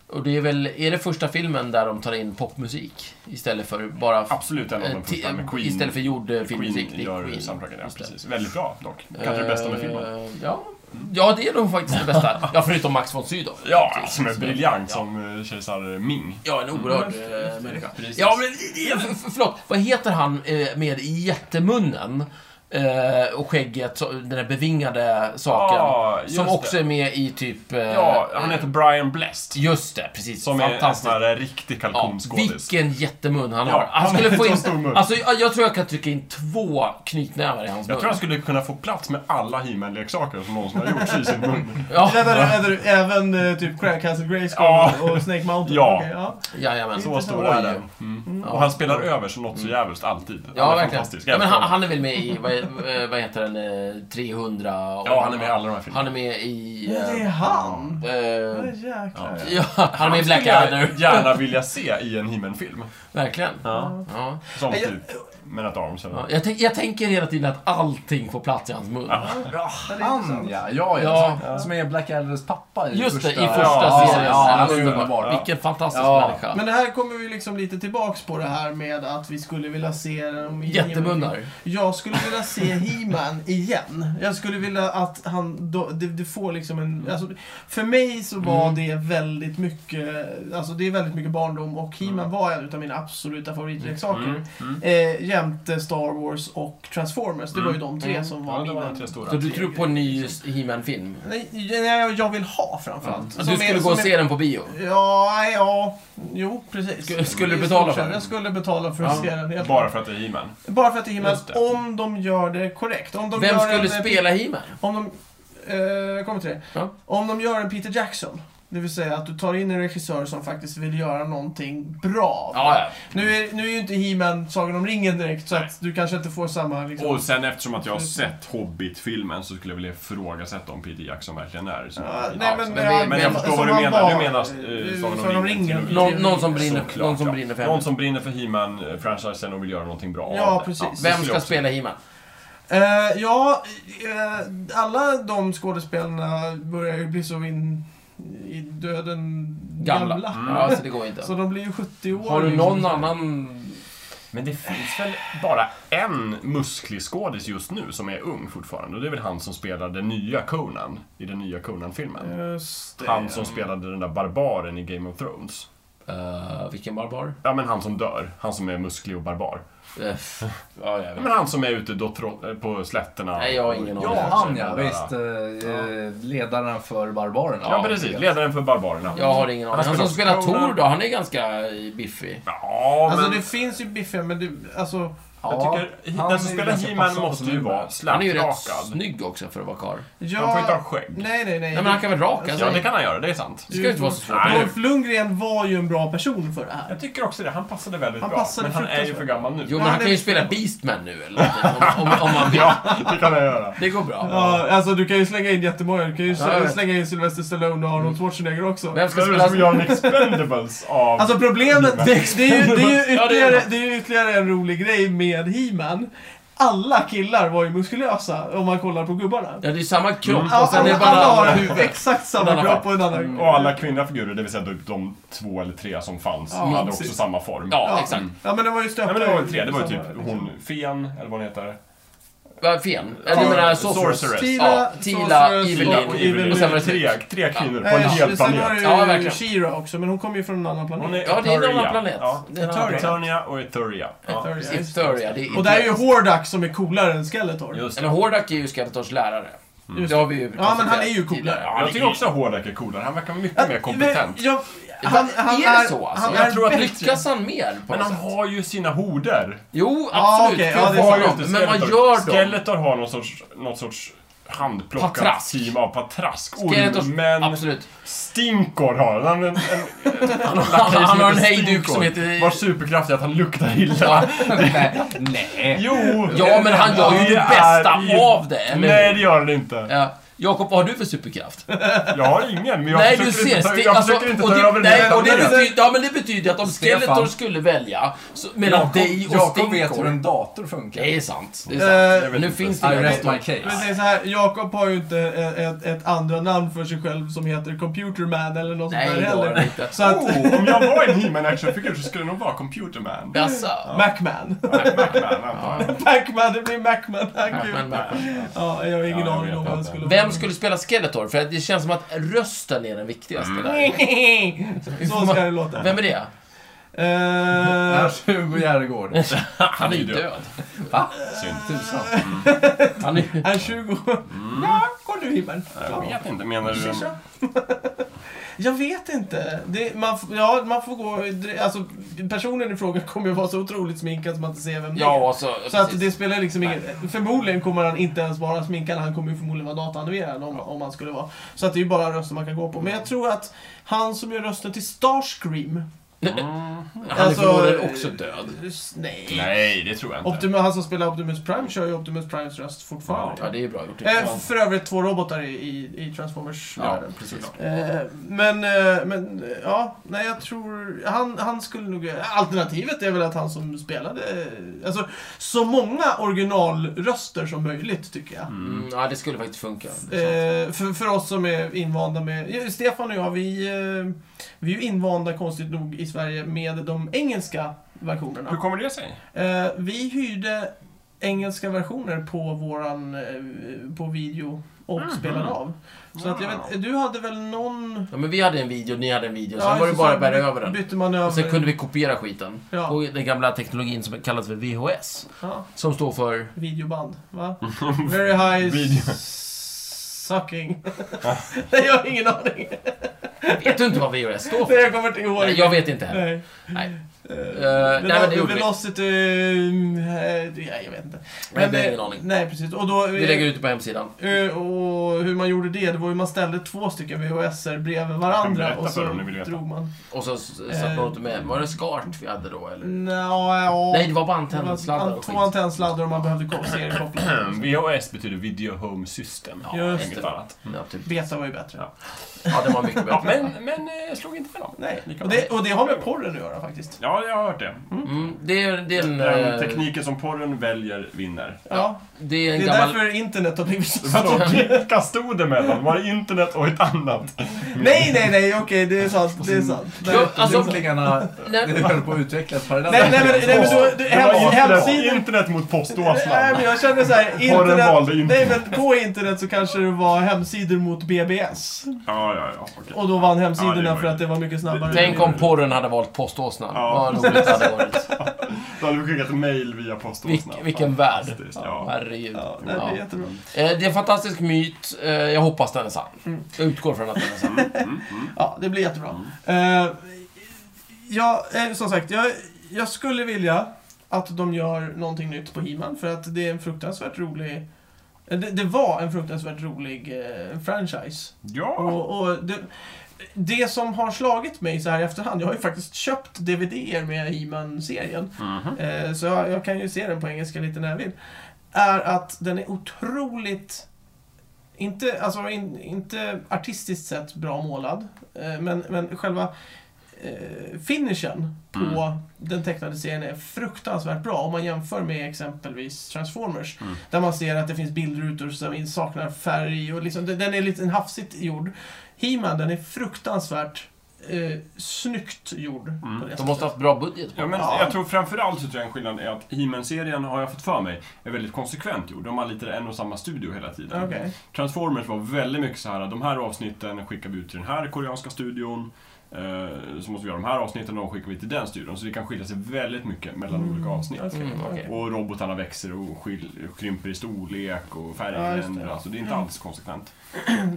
B: Och det är väl, är det första filmen där de tar in popmusik istället för bara...
C: Absolut en av
B: eh,
C: de
B: ti-
C: första med Queen.
B: Istället för jordfilmmusik.
C: Queen gör soundtracken, ja precis. Väldigt bra dock. Kanske
B: Eh,
C: det bästa med filmen. Mm.
B: Ja, ja det är nog faktiskt det bästa. Ja, förutom Max von Sydow.
C: [laughs] Ja, som är briljant som Mm. eh, kejsar Ming.
B: Ja, en oerhörd eh, människa.
C: Precis.
B: Ja, men eh, för, för, förlåt. Vad heter han eh, med jättemunnen? eh, och skägget, så, den där bevingade saken.
C: Ja, just
B: som också
C: det.
B: är med i typ... eh,
C: Ja, han heter Brian Blessed.
B: Just det, precis.
C: Som är en
B: Fantastiskt.
C: sån här riktig
B: Ja,
C: kalkonskådis.
B: vilken jättemun han
C: Ja,
B: har. Han
C: han
B: skulle
C: har
B: få
C: en
B: in,
C: stor mun.
B: alltså, jag, jag tror jag kan trycka in två knytnävar i hans
C: jag
B: mun.
C: tror han skulle kunna få plats med alla He-Man-leksaker som någonsin har gjorts i
B: [laughs]
C: sin mun.
B: Ja,
A: Vänta nu, vänta nu. Även eh, typ Crank Castle Grayskull
C: Ja.
A: och Snake Mountain?
C: Ja.
A: Okej, ja.
B: jajamän.
C: Så stor är den. Mm. Och han spelar över så något så jävligt alltid. Han
B: Ja,
C: är
B: verkligen.
C: fantastisk.
B: Ja, men han,
C: han,
B: han är väl med i, vad, eh, vad heter den, eh, 300? Och
C: ja, han är med i alla de här filmerna.
B: Han är med i...
A: Men det är
B: eh,
A: han!
B: eh,
A: Åh, jäklar.
B: ja, han är med i Black Adder.
C: jag gärna vilja se i en He-Man-film.
B: Verkligen.
C: Ja.
B: Ja.
C: Som
A: Jag-
C: typ Men att Arms eller...
B: Ja, jag, tänk, jag tänker hela tiden att allting får plats i hans mun.
D: Ja,
C: liksom.
D: han ja. Ja, ja.
B: Ja.
D: Som, som är Blackadders pappa i
B: Just det,
D: första...
B: i första
D: ja,
B: serien.
D: Ja, han är
B: Underbar.
D: underbar.
B: Vilken fantastisk
D: Ja.
B: människa.
A: Men det här kommer vi liksom lite tillbaks på det här med att vi skulle vilja se dem i-
B: Jättemunnar.
A: Jag skulle vilja se He-Man igen. Jag skulle vilja att han, då, det, det får liksom en, alltså, för mig så var
B: Mm.
A: det väldigt mycket, alltså det är väldigt mycket barndom och He-Man
C: Mm.
A: var en utav mina absoluta favoritleksaker.
C: Mm, mm.
A: Eh, jämte Star Wars och Transformers, det var ju de tre
B: Mm.
A: som var
C: Ja, det var
A: mina.
C: de tre stora.
B: Så du tror på en ny He-Man-film?
A: Nej, jag, jag vill ha framförallt.
B: Mm. Du
A: Som
B: skulle
A: är-
B: gå och
A: som är-
B: se den på bio?
A: Ja, nej, ja. Jo, precis.
B: Skulle- skulle
A: I
B: du betala
A: stort
B: för
A: sett.
B: den?
A: Jag skulle betala för att
B: Ja.
A: se den. Helt
C: Bara för att det är He-Man.
A: Bara för att det är himla...
C: Just det.
A: Om de gör det korrekt. Om de
B: Vem
A: gör
B: skulle
A: en, eh,
B: spela He-Man?
A: Om de... Eh, jag kommer till det.
B: Ja.
A: Om de gör en Peter Jackson. Det vill säga att du tar in en regissör som faktiskt vill göra någonting bra.
B: Ja,
A: Nu, är, nu är ju inte He-Man Sagan om ringen direkt, så
C: Nej.
A: att du kanske inte får samma... Liksom,
C: Och sen eftersom att jag har sett Hobbit-filmen så skulle jag vilja ifrågasätta om Peter Jackson verkligen är som
A: Ja,
C: Peter
A: nej,
C: Jackson.
A: men,
B: men det-
C: Men jag förstår vad du
A: som han
C: menar.
A: var,
C: Du menar
A: eh,
C: eh, Sagan
A: Sagan
C: om
A: om
C: ringen-trilogin.
A: ringen.
B: Någon, någon som brinner,
C: Såklart,
B: någon som
C: ja.
B: brinner för
C: Någon
B: henne.
C: som brinner för He-Man-franchisen och vill göra någonting bra
A: Ja,
C: av det.
A: precis.
C: det
B: Vem
C: skulle
B: ska
C: jag också-
B: spela He-Man?
A: Eh, ja, eh, alla de skådespelarna börjar ju bli så in i döden
B: Gamla. Mm.
A: gamla.
B: Ja, så det går inte.
A: Så de blir ju 70 år.
B: Har du
A: liksom.
B: någon annan...
C: Men det finns väl bara en musklig skådis just nu som är ung fortfarande och det är väl han som spelar den nya Conan i den nya Conan-filmen.
A: Just Eh, det.
C: Han som spelade den där barbaren i Game of Thrones.
B: Eh, vilken barbar?
C: Ja, men han som dör. Han som är musklig och barbar.
B: Eh, ja, jag
C: Ja,
B: vet.
C: men han som är ute då tro- på slätterna.
B: Nej, jag har ingen aning.
D: Ja, han ja,
C: Den där-
D: visst. eh, eh, Ledaren för Barbarerna.
C: Ja, precis. Ledaren för barbarerna.
B: Jag har ingen aning. Han som spelar
C: Conan.
B: Tor då, han är ganska biffig.
C: Ja, men...
A: Alltså det finns ju biffiga, men det, alltså...
C: jag tycker
D: han
C: den
D: är
C: som
D: ju
C: spelar
D: ganska
C: He-Man
D: passande
C: måste ju
D: nu.
C: vara
B: Han är ju rätt
C: slätrakad.
B: snygg också för att vara karl.
A: Jag...
C: Han får inte ha skägg.
A: Nej, nej, nej.
B: Nej, men han kan väl raka
C: Ja, det
B: sig?
C: kan han göra. Det är sant.
B: Det ska ju inte vara så svårt.
C: Nej.
A: Rolf Lundgren var ju en bra person för det här.
C: Jag tycker också det. Han passade väldigt
A: Han
C: bra.
A: passade
C: men han är ju
A: fruktansvärt.
C: för gammal nu.
B: Jo,
A: Ja,
B: men han
A: det-
B: kan ju spela Beastman nu eller någonting, om, om, om man vill.
C: det kan jag göra.
B: Det går bra.
A: Ja, alltså du kan ju slänga in jättemånga. Du kan ju
B: Ja, Mm. jag vet.
A: slänga in Sylvester Stallone och Arnold Schwarzenegger också.
B: Vem ska
C: Vem är det
B: spela...
C: som gör en Expendables av...
A: Alltså problemet, det är ju, det är ju
B: Ja, det är
A: ytterligare,
B: det.
A: det är ju ytterligare en rolig grej med He-Man. Alla killar var ju muskulösa om man kollar på gubbarna.
B: Ja, det är samma kropp
C: Mm.
B: och sen är det
A: alla,
B: bara
A: alla har
B: huvud.
A: exakt
B: En
A: samma
B: annan
A: kropp
B: form.
A: och en annan...
C: och alla kvinnliga figurer, det vill säga de- de två eller tre som fanns,
A: Ja,
C: hade
A: precis.
C: också samma form.
B: Ja, exakt.
A: Ja men det var ju
C: Nej,
A: stöpta
C: men det var
A: i
C: väl tre. Det var ju
A: samma,
C: typ
A: liksom.
C: hon, Fen, eller vad hon heter.
B: Vad Fen? Eller du menar Sorceress?
C: Sorceress.
A: Tila,
B: Ja, Tila,
A: Sorceress
B: Evelyn
A: och Evelyn.
B: och sen var det typ-
C: tre, tre kvinnor på en
A: Nej,
C: hel
A: sen har
C: planet.
A: du
B: Ja,
A: ju
B: verkligen.
A: Shira också, men hon kommer ju från en annan planet.
C: Hon är
B: Ja, det är en
C: Eternia.
B: annan planet.
C: Ja.
B: Det är en annan planet.
C: Eternia och Etheria. Ja.
A: Etheria, just det.
B: Etheria, det är
A: Och där är ju Hordak som är coolare än Skeletor.
C: Just det.
B: Eller Hordak är ju Skeletors lärare. Det har vi ju
A: Mm. Ja, men han är ju
B: konstaterat
A: coolare.
B: tidigare.
C: Ja, jag tycker också att Hordak är coolare. Han verkar mycket mer kompetent.
A: Men Jag, han, han
B: är det
A: är,
B: så alltså?
A: Han
C: Jag
A: är
C: tror att
A: bättre.
B: Lyckas han mer på
C: Men
B: något
C: han
B: sätt?
C: har ju sina horder.
B: Jo,
A: Ja,
B: absolut.
A: okej,
B: kul
A: ja, det
B: för
A: är
C: har ju
B: honom.
C: inte
B: Men vad
C: Skeletor.
B: gör de?
C: Skeletor har någon sorts, någon sorts handplockat
B: Patrask.
C: team av patrask.
B: Skeletors,
C: Ormen.
B: absolut.
C: Stinkor har han. Han, en, en, han,
B: [laughs] han har en hejduk som heter-
C: Vars superkraft är att han luktar illa.
B: [laughs] Ja,
D: Nej, nej.
C: Jo!
B: ja, men han gör ju det bästa
C: är ju-
B: av det, eller
C: Nej,
B: hur?
C: det gör han inte.
B: Ja. Jakob, vad har du för superkraft?
C: Jag har ingen, men jag
B: nej, du
C: försöker
B: ser.
C: inte ta,
B: sti-
C: jag
B: alltså,
C: försöker inte
B: och
C: ta
B: det,
C: över
B: nej,
C: det.
B: och det
C: Men-
B: betyder, ja, men det betyder att om
D: Stefan.
B: Skeletor skulle välja så, mellan
D: Jakob-
B: dig och
D: Jakob vet hur
B: Stinkor.
D: en dator funkar.
B: Det är sant. Det är
A: Eh,
B: sant.
C: jag vet
B: nu
C: inte.
B: finns det
D: I
B: ju
D: rest
B: en-
D: my case.
A: Men det är så här, Jakob har ju inte eh, ett, ett andra namn för sig själv som heter Computer Man eller något
B: Nej,
A: sånt där
B: det har den
A: heller.
B: inte.
A: Så att,
C: Oh, om jag var en He-Man actionfigur så skulle det nog vara Computer Man.
B: Jaså?
A: [laughs] Macman.
C: Pac-Man, antar jag.
A: Macman, det blir Macman. Ja,
B: Ja, men-
A: gud. Ja, jag har ingen
C: Ja,
A: aning
C: jag
A: om
C: vet
A: vad det
C: inte.
A: skulle vara.
B: Vem skulle spela Skeletor? För att det
A: Mm.
B: känns som att rösten är den viktigaste där.
A: [laughs] Så ska det låta.
B: Vem är det?
A: Eh,
D: Ernst Hugo Järegård.
B: Han är ju
C: död.
B: död.
D: Va?
C: Synd.
D: Tusan.
B: Han är...
A: är 20.
B: Mm.
A: Ja, går du himlen.
C: Jag vet inte, menar du...
A: Shisha. Jag vet inte. Det, man, f- ja, man får gå... Alltså, personen i fråga kommer ju vara så otroligt sminkad att man inte ser vem det är.
B: Ja, alltså,
A: Så att det spelar liksom ingen... Förmodligen kommer han inte ens vara sminkad. Han kommer ju förmodligen vara dataanimerad om, om han skulle vara. Så att det är ju bara röster man kan gå på. Men jag tror att han som gör rösten till Starscream...
C: Mm.
B: Han är
A: alltså,
B: förmodligen också död.
A: s- Nej.
C: Nej, det tror jag inte.
A: Optimus, han som spelar Optimus Prime kör ju Optimus Primes röst
B: Ja,
A: fortfarande.
B: det är bra gjort.
A: Eh, för övrigt två robotar i, i, i Transformers.
B: Ja,
A: världen.
B: precis.
A: Eh, men, eh, men eh, ja, nej jag tror, han, han skulle nog, alternativet är väl att han som spelade, eh, alltså så många originalröster som möjligt tycker jag.
B: Mm, ja, det skulle faktiskt funka.
A: Eh, för, för oss som är invanda med, ja, Stefan och jag, vi, eh, vi är ju invanda konstigt nog i Sverige med de engelska versionerna.
C: Hur kommer det sig?
A: Eh, vi hyrde engelska versioner på våran, eh, på video och spelade av. Så att jag vet, du hade väl någon...
B: Ja, men vi hade en video, ni hade en video. Sen
A: Ja,
B: var det
A: så-
B: bara
A: så
B: att bära
A: by-
B: över den.
A: Bytte man över.
B: Och sen kunde vi kopiera skiten.
A: Ja.
B: Och den gamla teknologin som kallas för VHS.
A: Ja,
B: Som står för...
A: videoband,
B: [laughs]
A: va? Very high
C: Video.
A: s- sucking. Nej, [laughs] jag har ingen aning.
B: Vet du inte vad VHS står [laughs]
A: Nej,
B: för?
A: jag kommer inte ihåg.
B: Nej, jag vet inte heller.
A: Nej.
B: Nej. Eh,
A: Uh,
B: nej, men det gjorde vi.
A: Velocity... eh, nej, jag vet inte.
B: Nej, det har
A: eh,
B: ingen aning.
A: Nej, precis. Och då...
B: Vi lägger ut det på hemsidan.
A: Eh, Och hur man gjorde det, det var ju man ställde två stycken VHS-er bredvid varandra
C: Berätta
A: och
C: för
A: så
C: dem om ni vill veta.
A: drog man.
B: Och så s- satte man inte med... Var det skart vi hade då, eller?
A: Nja, ja.
B: Nej, det var bara
A: Det var
B: antennsladdar och skit.
A: Två antennsladdar och man behövde ko- seriekoppla.
B: Mm, [clears throat]
C: VHS betyder Video Home System.
A: Just
C: inget
B: det.
C: annat.
B: Ja, typ.
A: Beta var ju bättre.
C: Ja.
B: ja, det var mycket
C: Ja,
B: bättre.
C: men, men eh, slog inte med dem.
A: Nej.
C: Lika
A: Och
C: bra.
A: det, och det har med porren att göra faktiskt.
C: Ja, jag har hört det.
B: Mm, det är, det är en...
C: Den
B: eh,
C: tekniken som porren väljer vinner.
A: Ja.
B: Det är en
A: Det är
B: gammal...
A: därför internet har blivit så
C: Vadå,
A: stort.
C: vilka stod det mellan? Var det internet och ett annat?
A: Nej, nej, nej, okej, det är sant. Det är sant. Nej,
B: Ja, alltså-
D: Utvecklingarna
B: Nej,
D: höll på att utvecklas parallellt.
A: nej, nej, men, nej, men då, du,
C: Det var
A: hem,
C: internet,
A: hemsidan...
C: internet
A: Nej,
C: mot
A: men
C: poståsnan.
A: jag känner såhär,
C: valde
A: internet... Nej,
C: internet.
A: men på internet så kanske det var hemsidor mot BBS.
C: Ja, ja, ja. okej.
A: Och då vann
C: Ja,
A: hemsidorna
C: det var
A: för att det var mycket snabbare.
B: Tänk om porren hade valt poståsnan.
C: Ja.
B: Vad roligt det hade varit.
C: Då hade vi skickat mail via
B: Vilk,
C: poståsnan.
B: vilken värld.
C: Fantastiskt, Ja. Mm,
B: Herregud.
A: Ja, nej, det är
B: Ja.
A: jättebra.
B: Eh, Det är en fantastisk myt. Eh, Jag hoppas den är sann. Jag utgår från att den är sann.
C: mm,
A: Ja, det blir jättebra. Eh, ja, eh, som sagt, jag, jag skulle vilja att de gör någonting nytt på He-Man för att det är en fruktansvärt rolig... eh, Det, det var en fruktansvärt rolig eh, franchise.
C: Ja,
A: Och, och det, det som har slagit mig så här i efterhand, jag har ju faktiskt köpt DVDer med He-Man-serien. Eh, Så jag, jag kan ju se den på engelska lite när jag vill. Är att den är otroligt... Inte, alltså, in, inte artistiskt sett bra målad, eh, men, men själva eh, finishen på
B: Mm.
A: den tecknade serien är fruktansvärt bra om man jämför med exempelvis Transformers.
B: Mm.
A: Där man ser att det finns bildrutor som saknar färg och liksom, den den är lite hafsigt gjord. He-Man, den är fruktansvärt eh, snyggt gjord. På det
B: Mm. De måste ha haft bra budget på
C: Ja,
B: den.
C: men
A: Ja.
C: Jag tror framförallt så tror jag en skillnad är att He-Man-serien, har jag fått för mig, är väldigt konsekvent gjord. De har lite en och samma studio hela tiden.
A: Okej.
C: Transformers var väldigt mycket så här, de här avsnitten skickar vi ut till den här koreanska studion. Eh, så måste vi göra de här avsnitten och de skickar vi till den studion. Så det kan skilja sig väldigt mycket mellan olika avsnitt.
A: Okej.
B: Mm, okej.
C: Och robotarna växer och skil- krymper i storlek och färgen
A: Ja, just det. Mm.
C: ändras. Det. det är inte alls konsekvent.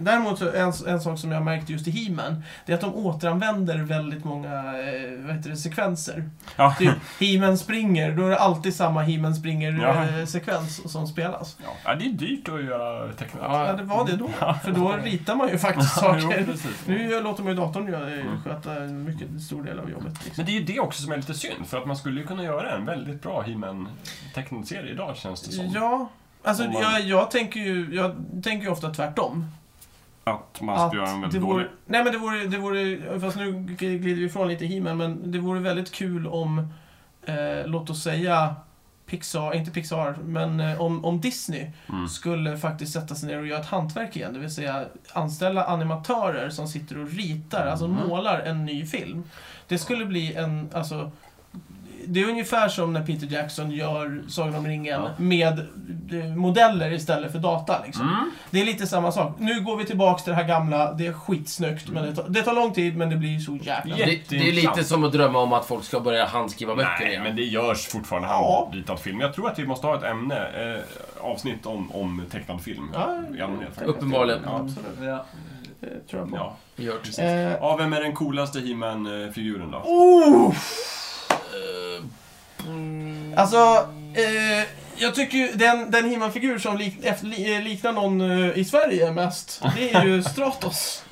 A: Däremot så en, en sak som jag märkte just i He-Man, det är att de återanvänder väldigt många eh, vad heter det, sekvenser.
C: Ja.
A: Typ, He-Man springer, då är det alltid samma He-Man
C: Ja.
A: springer-sekvens som spelas.
C: Ja, det är dyrt att göra tecknat.
A: Ja,
B: Ja,
A: det var det då. För då ritar man ju faktiskt saker.
C: precis. Mm.
A: Nu låter man ju datorn göra- sköta en mycket stor del av jobbet. Liksom.
C: Men det är ju det också som är lite synd, för att man skulle ju kunna göra en väldigt bra He-Man tecknad serie idag känns det som.
A: Ja, alltså
C: Om man-
A: jag, jag, tänker ju, jag tänker ju ofta tvärtom.
C: Att man skulle göra en
A: det
C: väldigt
A: vore,
C: dålig.
A: nej men det vore, det vore, fast nu glider vi ifrån lite He-Man, men det vore väldigt kul om, eh, låt oss säga, Pixar, inte Pixar, men eh, om, om Disney
C: Mm.
A: skulle faktiskt sätta sig ner och göra ett hantverk igen. Det vill säga anställa animatörer som
C: Mm.
A: sitter och ritar, alltså målar en ny film. Det skulle bli en, alltså, det är ungefär som när Peter Jackson gör Sagan om ringen med eh, modeller istället för data. Liksom.
C: Mm.
A: Det är lite samma sak. Nu går vi tillbaka till det här gamla, det är skitsnyggt. Men det, tar, det tar lång tid, men det blir så jävla...
C: Mm. Ja.
B: Det, det är lite som att drömma om att folk ska börja handskriva böcker
C: Nej,
B: igen.
C: men det görs fortfarande
A: Ja.
C: handritad film. Jag tror att vi måste ha ett ämne, eh, avsnitt om, om tecknad film.
A: Ja,
C: i allmänhet.
B: Uppenbarligen.
C: Ja,
A: Absolut.
D: Ja.
A: Det tror jag på.
C: ja.
B: Gjort.
A: Eh,
C: ja, vem är den coolaste He-Man-figuren då?
A: Oh! Alltså, eh, jag tycker ju den, den He-Man-figur som lik, ef- li, eh, liknar någon eh, i Sverige mest, det är ju Stratos.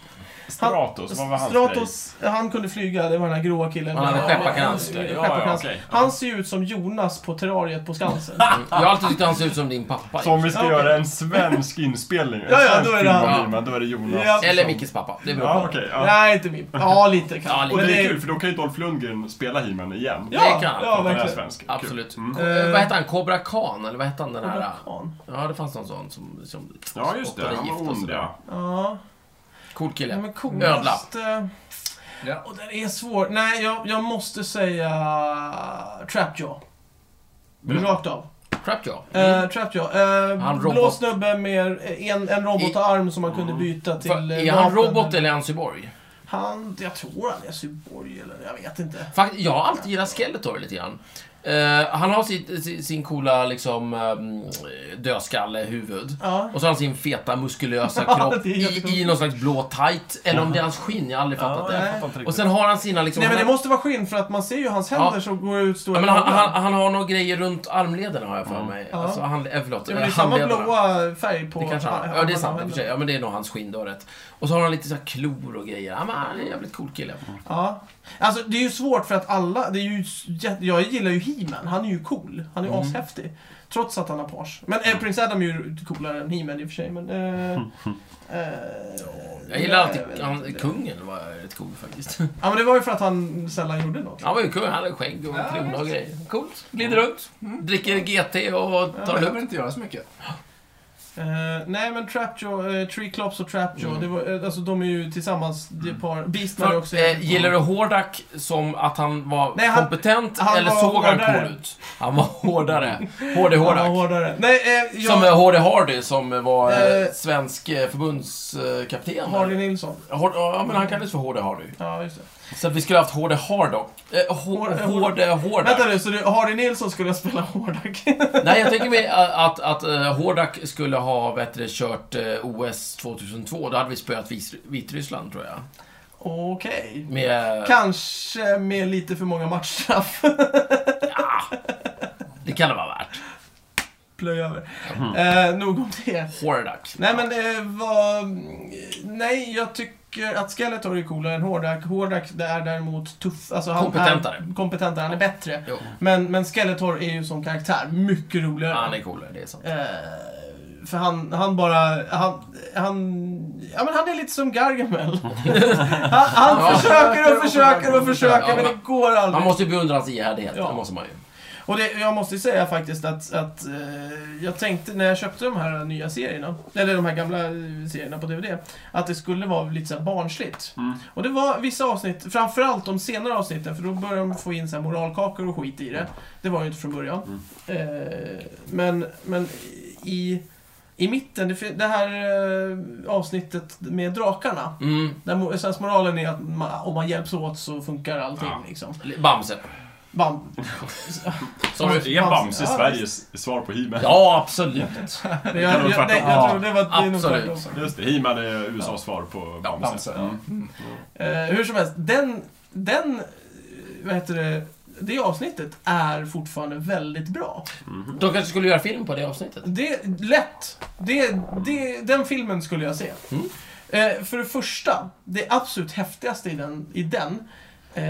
C: Stratos, vad var hans
A: Stratos, eh, han kunde flyga, det var den här gråa killen.
B: Han hade
A: Ja,
B: skepparkrans.
A: han-
C: Ja, ja,
A: skepparkrans.
C: okej. Ja.
A: Han ser ju ut som Jonas på terrariet på Skansen.
B: Jag har alltid tyckt han ser ut som din pappa.
C: grej? Så om vi ska
A: Ja, okej.
C: göra en svensk inspelning, en
A: Ja, ja,
C: svensk
A: då är det
C: film
A: han.
C: om
B: Ja.
C: He-Man, då är det Jonas.
A: Ja.
B: Eller
C: som-
B: Mickes pappa. Det beror på.
C: Ja, okej. ja.
A: Nej, inte min. Ja, lite
B: Ja,
A: kanske.
B: lite.
C: Och
A: Men
C: det är kul, för då kan ju Dolph Lundgren spela He-Man igen.
A: Ja,
B: Det kan
A: ja
B: han.
C: För att han är
A: verkligen.
C: svensk. Kul.
B: Absolut.
C: Mm.
B: Ko- eh, vad hette han? Cobra Khan? Eller vad hette han den här?
A: Fan.
B: Ja, det fanns någon sån som... som
C: Ja, just det.
B: spottade
C: Han
B: gift
C: var
B: och
C: ond,
B: sådär.
C: ja.
A: Ja,
B: Cool
A: ja
B: kille.
A: men coolast... eh,
D: Ja.
A: Och den är svår. Nej, jag, jag måste säga Trapjaw.
C: Mm.
A: Rakt av.
B: Trapjaw.
A: Mm. Trapjaw. Eh,
B: Han robot. Mm.
A: blå snubbe med en, en robotarm som man kunde byta till
B: För-
A: eh,
B: Är han
A: vapen.
B: robot eller är han cyborg?
A: Han, jag tror han är cyborg eller jag vet inte.
B: Fakt, jag har alltid gillat Skeletor lite grann. Eh, han har sitt, sin, sin coola liksom, um, dödskallehuvud.
A: Ja.
B: Och så har han sin feta, muskulösa
A: [laughs] Ja,
B: kropp
A: det är
B: i,
A: jättekul.
B: i någon slags blå tight. Eller om det är hans skinn, jag har aldrig fattat
C: Ja, jag
B: det.
C: fattar inte
B: Och
C: riktigt.
B: sen har han sina liksom...
A: Nej men det
B: han-
A: måste vara skinn för att man ser ju hans händer
B: Ja.
A: som går ut stora
B: Ja, men han,
A: ögon.
B: han, han har några grejer runt armlederna har jag för mig.
A: Mm. Ja.
B: Alltså, han, eh, förlåt,
A: Ja, men det är
B: eh,
A: samma
B: handlederna.
A: blåa färg på...
B: Det kanske han,
A: armarna
B: ja, det är
A: och
B: sant i och för sig.
A: händerna.
B: Ja, men det är nog hans skinn, du har rätt. Och så har han lite så här klor och grejer. Ja, men han är en jävligt cool kille.
A: Ja. Alltså det är ju svårt för att alla, det är ju, jä- jag gillar ju He-Man, han är ju cool. Han är
B: Mm.
A: ju ashäftig. Trots att han har page. Men eh, Prince Adam är ju coolare än He-Man i och för sig,
B: [laughs]
A: men... Eh, eh,
B: Jag gillar alltid
A: vet
B: han,
A: inte.
B: kungen, var rätt cool faktiskt.
A: Ja men det var ju för att han sällan gjorde något.
B: Han var ju kung, han hade skägg och krona och grejer. Coolt. Glider runt, Mm. dricker GT och
D: Han
B: tar
D: behöver
B: lubb.
D: inte göra så mycket.
A: Eh, nej men Trapjaw, eh, Tree Clops och Trapjaw,
B: Mm.
A: det var, eh, alltså de är ju tillsammans, det är par. Beastman är också
B: Eh, gillar du Hordak som att han var
A: Nej, han-
B: kompetent
A: han
B: eller
A: var
B: såg han
A: hårdare.
B: cool ut? Han
A: [laughs]
B: var hårdare. HD
A: Han var
B: Hordak.
A: hårdare. Nej, eh, jag,
B: Som eh, HD Hardy som var eh,
A: Eh,
B: svensk eh, förbundskapten.
A: Harley Nilsson.
B: Hard, ja, men han kallades för HD Hardy.
A: Ja, just det.
B: Så att vi skulle haft HD Hardock. Eh, H- HD
A: Vänta
B: Hordak.
A: nu, så du, Harley Nilsson skulle spela Hårdak?
B: Nej, jag tänker mig eh, att, att eh, Hordak skulle ha vet du, kört eh, OS 2002. Då hade vi spöat Vis- Vitryssland, tror jag.
A: [laughs] Okej.
B: Med... eh,
A: Kanske med lite [laughs] för många matchstraff.
B: Det kan det vara värt.
A: Plöj över.
B: Mm.
A: Eh, nog om det.
B: Hordak.
A: Nej men eh, vad... Nej, jag tycker att Skeletor är coolare än Hordak. Hordak det är däremot tuff. Alltså han
B: Kompetentare.
A: Är, kompetentare, han är bättre.
B: Jo,
A: Men, men Skeletor är ju som karaktär mycket roligare.
B: han är coolare, det är sant.
A: Eh, för han, han bara, han, han, ja men han är lite som Gargamel. [laughs] han han
B: Ja.
A: försöker och försöker och försöker men det går
B: Man
A: aldrig.
B: måste ju beundra hans ihärdighet,
A: Ja.
B: det måste man ju.
A: Och det, jag måste ju säga faktiskt att, att eh, jag tänkte när jag köpte de här nya serierna, eller de här gamla eh, serierna på DVD, att det skulle vara lite så här barnsligt.
C: Mm.
A: Och det var vissa avsnitt, framförallt de senare avsnitten, för då började de få in så här moralkakor och skit i det. Det var ju inte från början. Eh, men, men i, i mitten, det, fin- det här eh, avsnittet med drakarna,
B: Mm.
A: där mo- sensmoralen är att man, om man hjälps åt så funkar allting. Liksom.
B: Bamse.
A: Bam,
B: Som
A: Ja.
C: Är Bamse
A: Ja,
C: Sveriges svar på He-Man?
B: Ja, absolut.
A: Men jag, jag,
C: Det kan
A: jag,
C: vara tvärtom.
A: jag tror det var det är nog
B: Absolut.
A: tvärtom.
C: Just det, He-Man är USAs svar på Bamse. Mm.
D: Bamse, ja.
A: Eh, hur som helst, den, den, eh, vad heter det, det avsnittet är fortfarande väldigt bra.
B: De kanske skulle göra film på det avsnittet.
A: Det är lätt. Det, det, den filmen skulle jag se.
B: Mm.
A: Eh, för det första, det absolut häftigaste i den, i den eh,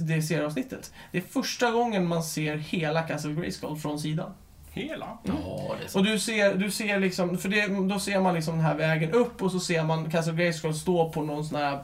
A: det serieavsnittet, det är första gången man ser hela Castle Grayskull från sidan.
C: Hela?
B: Ja, det är sant.
A: Och du ser, du ser liksom, för det, då ser man liksom den här vägen upp och så ser man Castle Grayskull stå på någon sån här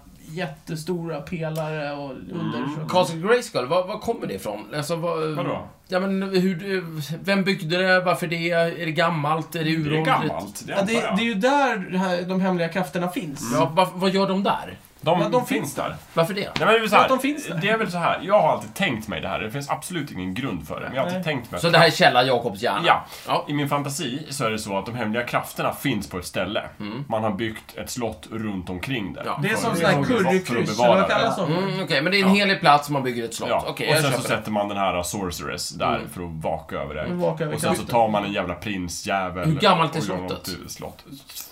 A: jättestora pelare och
C: Mm.
A: under.
B: Castle Grayskull, var, var kommer det ifrån? Alltså, vad,
C: Vadå?
B: Ja, men hur, vem byggde det? Varför det? Är det gammalt? Är det
C: Det är
B: uråldrigt?
C: gammalt, det
A: Ja,
C: antar
A: det,
C: jag.
A: det är ju där det här, de hemliga krafterna finns.
B: Ja, vad, vad gör de där?
C: De,
A: Ja, de
C: finns,
A: finns
C: där.
B: Varför det?
C: Nej, men det, är väl så här,
A: Ja, de finns där.
C: det är väl så här, jag har alltid tänkt mig det här. Det finns absolut ingen grund för det. Men jag har alltid tänkt mig
B: Så det här är källa Jakobs hjärna?
C: Ja.
B: Ja.
C: I min fantasi så är det så att de hemliga krafterna finns på ett ställe. Man har byggt ett slott runt omkring det.
B: Mm. Ja.
A: Det är
C: För-
A: som sådana här
C: för att
A: currykryss, eller
C: bevara
A: vad
C: det.
A: kallas de?
B: Mm, Okej, men det är en helig plats som man bygger ett slott.
C: Ja.
B: Okej,
C: och
B: jag
C: sen så
B: köper det.
C: sätter man den här Sorceress där för att vaka över det.
A: Mm. Vaka över
C: och sen så
A: kraften.
C: tar man en jävla prinsjävel.
B: Hur gammalt är
C: och gör något
B: slottet?
C: till slott?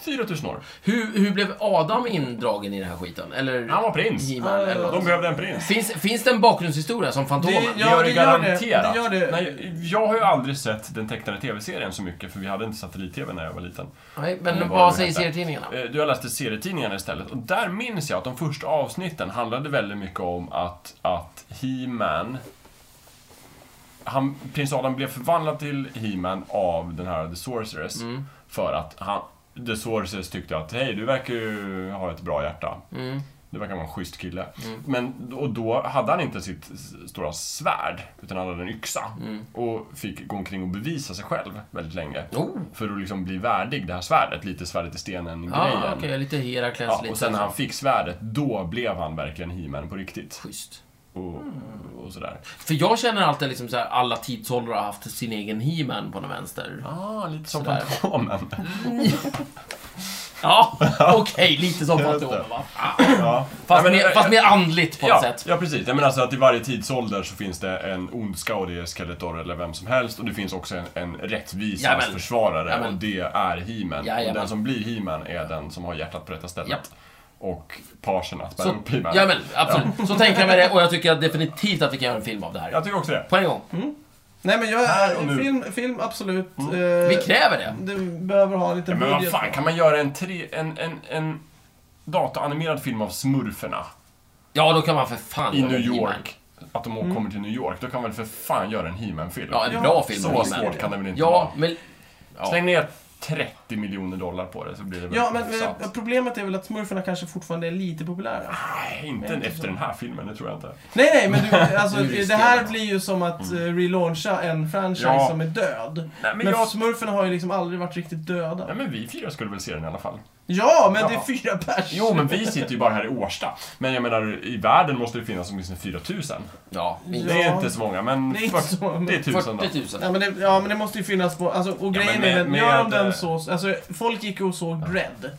C: 4000 år.
B: Hur, hur blev Adam indragen i den här skiten? Eller
C: Han var prins.
B: He-Man eller något?
C: De behövde en prins.
B: Finns, finns det en bakgrundshistoria som Fantomen?
A: Det-
C: gör
A: Ja, det gör det. Det gör det.
C: Nej, jag har ju aldrig sett den tecknade tv-serien så mycket, för vi hade inte satellit-tv när jag var liten.
B: Nej, men
C: Mm, vad
B: vad
C: det
B: säger
C: heter.
B: serietidningarna?
C: Eh, Du har läst serietidningarna istället. Och där minns jag att de första avsnitten handlade väldigt mycket om att, att He-Man... Han, Prins Adam blev förvandlad till He-Man av den här The Sorceress.
A: Mm.
C: För att han, The Sorceress tyckte att hej, du verkar ju ha ett bra hjärta.
B: Mm.
C: Du verkar vara en schysst kille. Men, och då hade han inte sitt s- stora svärd, utan han hade en yxa.
B: Mm.
C: Och fick gå omkring och bevisa sig själv väldigt länge.
B: Oh.
C: För att liksom bli värdig det här svärdet, lite svärdet i stenen-grejen.
B: Ah, okej, lite Herakles,
C: ja,
B: lite
C: och sen när
B: så.
C: han fick svärdet, då blev han verkligen He-Man på riktigt.
B: Schysst.
C: Och,
B: Mm.
C: och sådär.
B: För jag känner alltid liksom så här, alla tidsåldrar har haft sin egen He-Man på den vänster.
C: Ah, lite som
B: Sådär. [laughs]
C: Fantomen.
B: Ja, [laughs] okej, lite som
C: Jag vet
B: Fantomen
C: det.
B: va?
C: ja.
B: Fast,
C: Nej, men-
B: mer, fast mer andligt på något
C: ja,
B: sätt.
C: Ja, precis. Nej, men alltså att i varje tidsålder så finns det en ondska och det är Skeletor eller vem som helst. Och det finns också en, en rättvisans
B: Jajamän.
C: försvarare
B: Jajamän.
C: och det är He-Man.
B: Jajamän.
C: Och den som blir He-Man är den som har hjärtat på rätta stället.
B: Japp.
C: Och parserna spär
B: Så,
C: upp He-Man.
B: ja, men, absolut. Så tänker jag med det och jag tycker definitivt att vi kan göra en film av det här.
C: Jag tycker också det.
B: På en gång.
C: Mm.
A: Nej men jag
C: Här och
A: är...
C: nu. Mm.
A: Film, film absolut.
B: Vi
A: Eh,
B: kräver det.
A: du behöver ha lite
C: Ja, men vad
A: budget.
C: fan, kan man göra en, tre, en, en, en dataanimerad film av smurferna
B: Ja, då kan man för fan
C: i
B: göra
C: New
B: en He-Man.
C: York? Att de kommer till New York, då kan man väl för fan göra en He-Man-film?
B: Ja, en
A: Ja,
B: bra film
C: så
B: om He-Man.
C: svårt kan det väl inte
B: Ja,
C: vara?
B: men... Ja.
C: Släng ner 30 miljoner dollar på det så blir det väl
A: Ja, men
C: hyfsat.
A: eh, problemet är väl att smurfarna kanske fortfarande är lite populära.
C: Nej, inte
A: Nej,
C: efter den här filmen, det tror jag inte.
A: Nej, nej, men du, alltså,
B: Nu
A: [laughs]
B: riskerar
A: det här
B: man.
A: blir ju som att eh, relauncha en franchise
C: Ja.
A: som är död.
C: Nej, men
A: Men,
C: jag-
A: smurfarna har ju liksom aldrig varit riktigt döda.
C: Nej, men vi fyra skulle väl se den i alla fall.
A: Ja, men det
C: Ja.
A: är fyra pers!
C: Jo, men vi sitter ju bara här i Årsta. Men jag menar, i världen måste det finnas åtminstone 4000.
B: Ja, minst.
C: Det är
A: Ja.
C: inte så många, men...
A: Det är inte
C: fyrtio-
A: så många, men-
C: Det är 1000 då.
B: 40 000.
A: Nej, men det, ja, men det måste ju finnas på... Alltså, och
C: Ja,
A: grejen
C: men med-
A: är den, gör de
C: med, eh,
A: den så... Alltså, folk gick och såg Dread.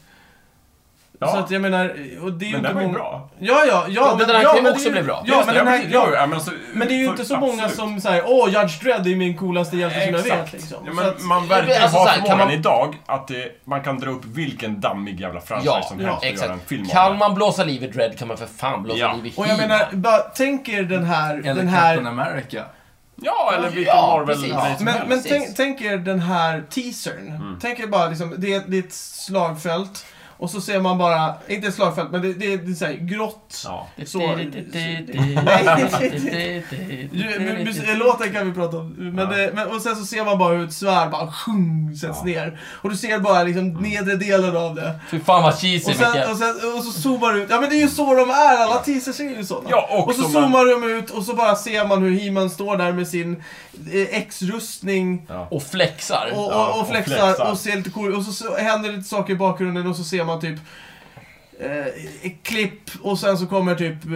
A: Så
C: Ja,
A: att jag menar, och det är ju
C: men
A: inte
C: den var ju
A: mång-
C: bra.
A: Ja, ja, ja.
B: men den här
A: ja,
B: kan ju
A: men det är
B: också
A: ju-
B: bli bra.
A: Ja,
C: Just
A: men
C: det,
A: den här...
C: precis,
A: Ja,
C: jo, men, alltså,
A: men det är ju
C: för-
A: inte så
C: absolut.
A: många som säger åh, Judge Dredd är min coolaste hjälte som jag vet. Liksom.
C: Ja,
A: Så att-
C: men man verkar ju
B: Alltså,
C: ha
B: så här, kan
C: förmågan
B: man-
C: idag att det, man kan dra upp vilken dammig jävla franchise
B: Ja,
C: som
A: ja,
C: helst och liksom göra en
B: Exakt.
C: film
B: Kan
C: av
B: man blåsa liv i Dread kan man för fan blåsa
C: Ja.
B: liv i
A: Och jag
B: He-Man.
A: menar, bara, tänk er den här...
D: Eller
A: den här
D: Captain America.
C: Ja, eller vilken
B: Ja,
C: Marvel-grej
B: precis.
C: som
A: Men,
C: helst.
A: men
B: Precis.
A: tänk, tänk er den här teasern.
C: Mm.
A: Tänk er bara liksom, det är, det är ett slagfält. Och så ser man bara, inte ett slagfält, men det, det, är- det är såhär grått.
C: Ja.
A: Så- [laughs]
C: [laughs]
A: Ju- mu- mus-
B: Nej,
A: Låten kan vi prata om. Men,
C: Ja.
A: det, men, och sen så ser man bara hur ett svärd bara sjung, sätts
C: Ja. Mm.
A: ner. Och du ser bara liksom nedre delen av det.
B: Fy fan vad cheesy
A: Och, sen,
B: Micke.
A: och, sen, och så zoomar du ut. Ja men det är ju så de är, alla teasers är ju sådana.
C: Ja, och
A: och så
C: som man-
A: zoomar de ut och så bara ser man hur He-Man står där med sin eh, X-rustning.
B: Och flexar.
A: och,
C: Ja,
A: och,
C: och
A: och
C: flexar.
A: flexar och ser lite cool Och så, så händer lite saker i bakgrunden och så ser man typ eh, klipp och sen så kommer typ, eh,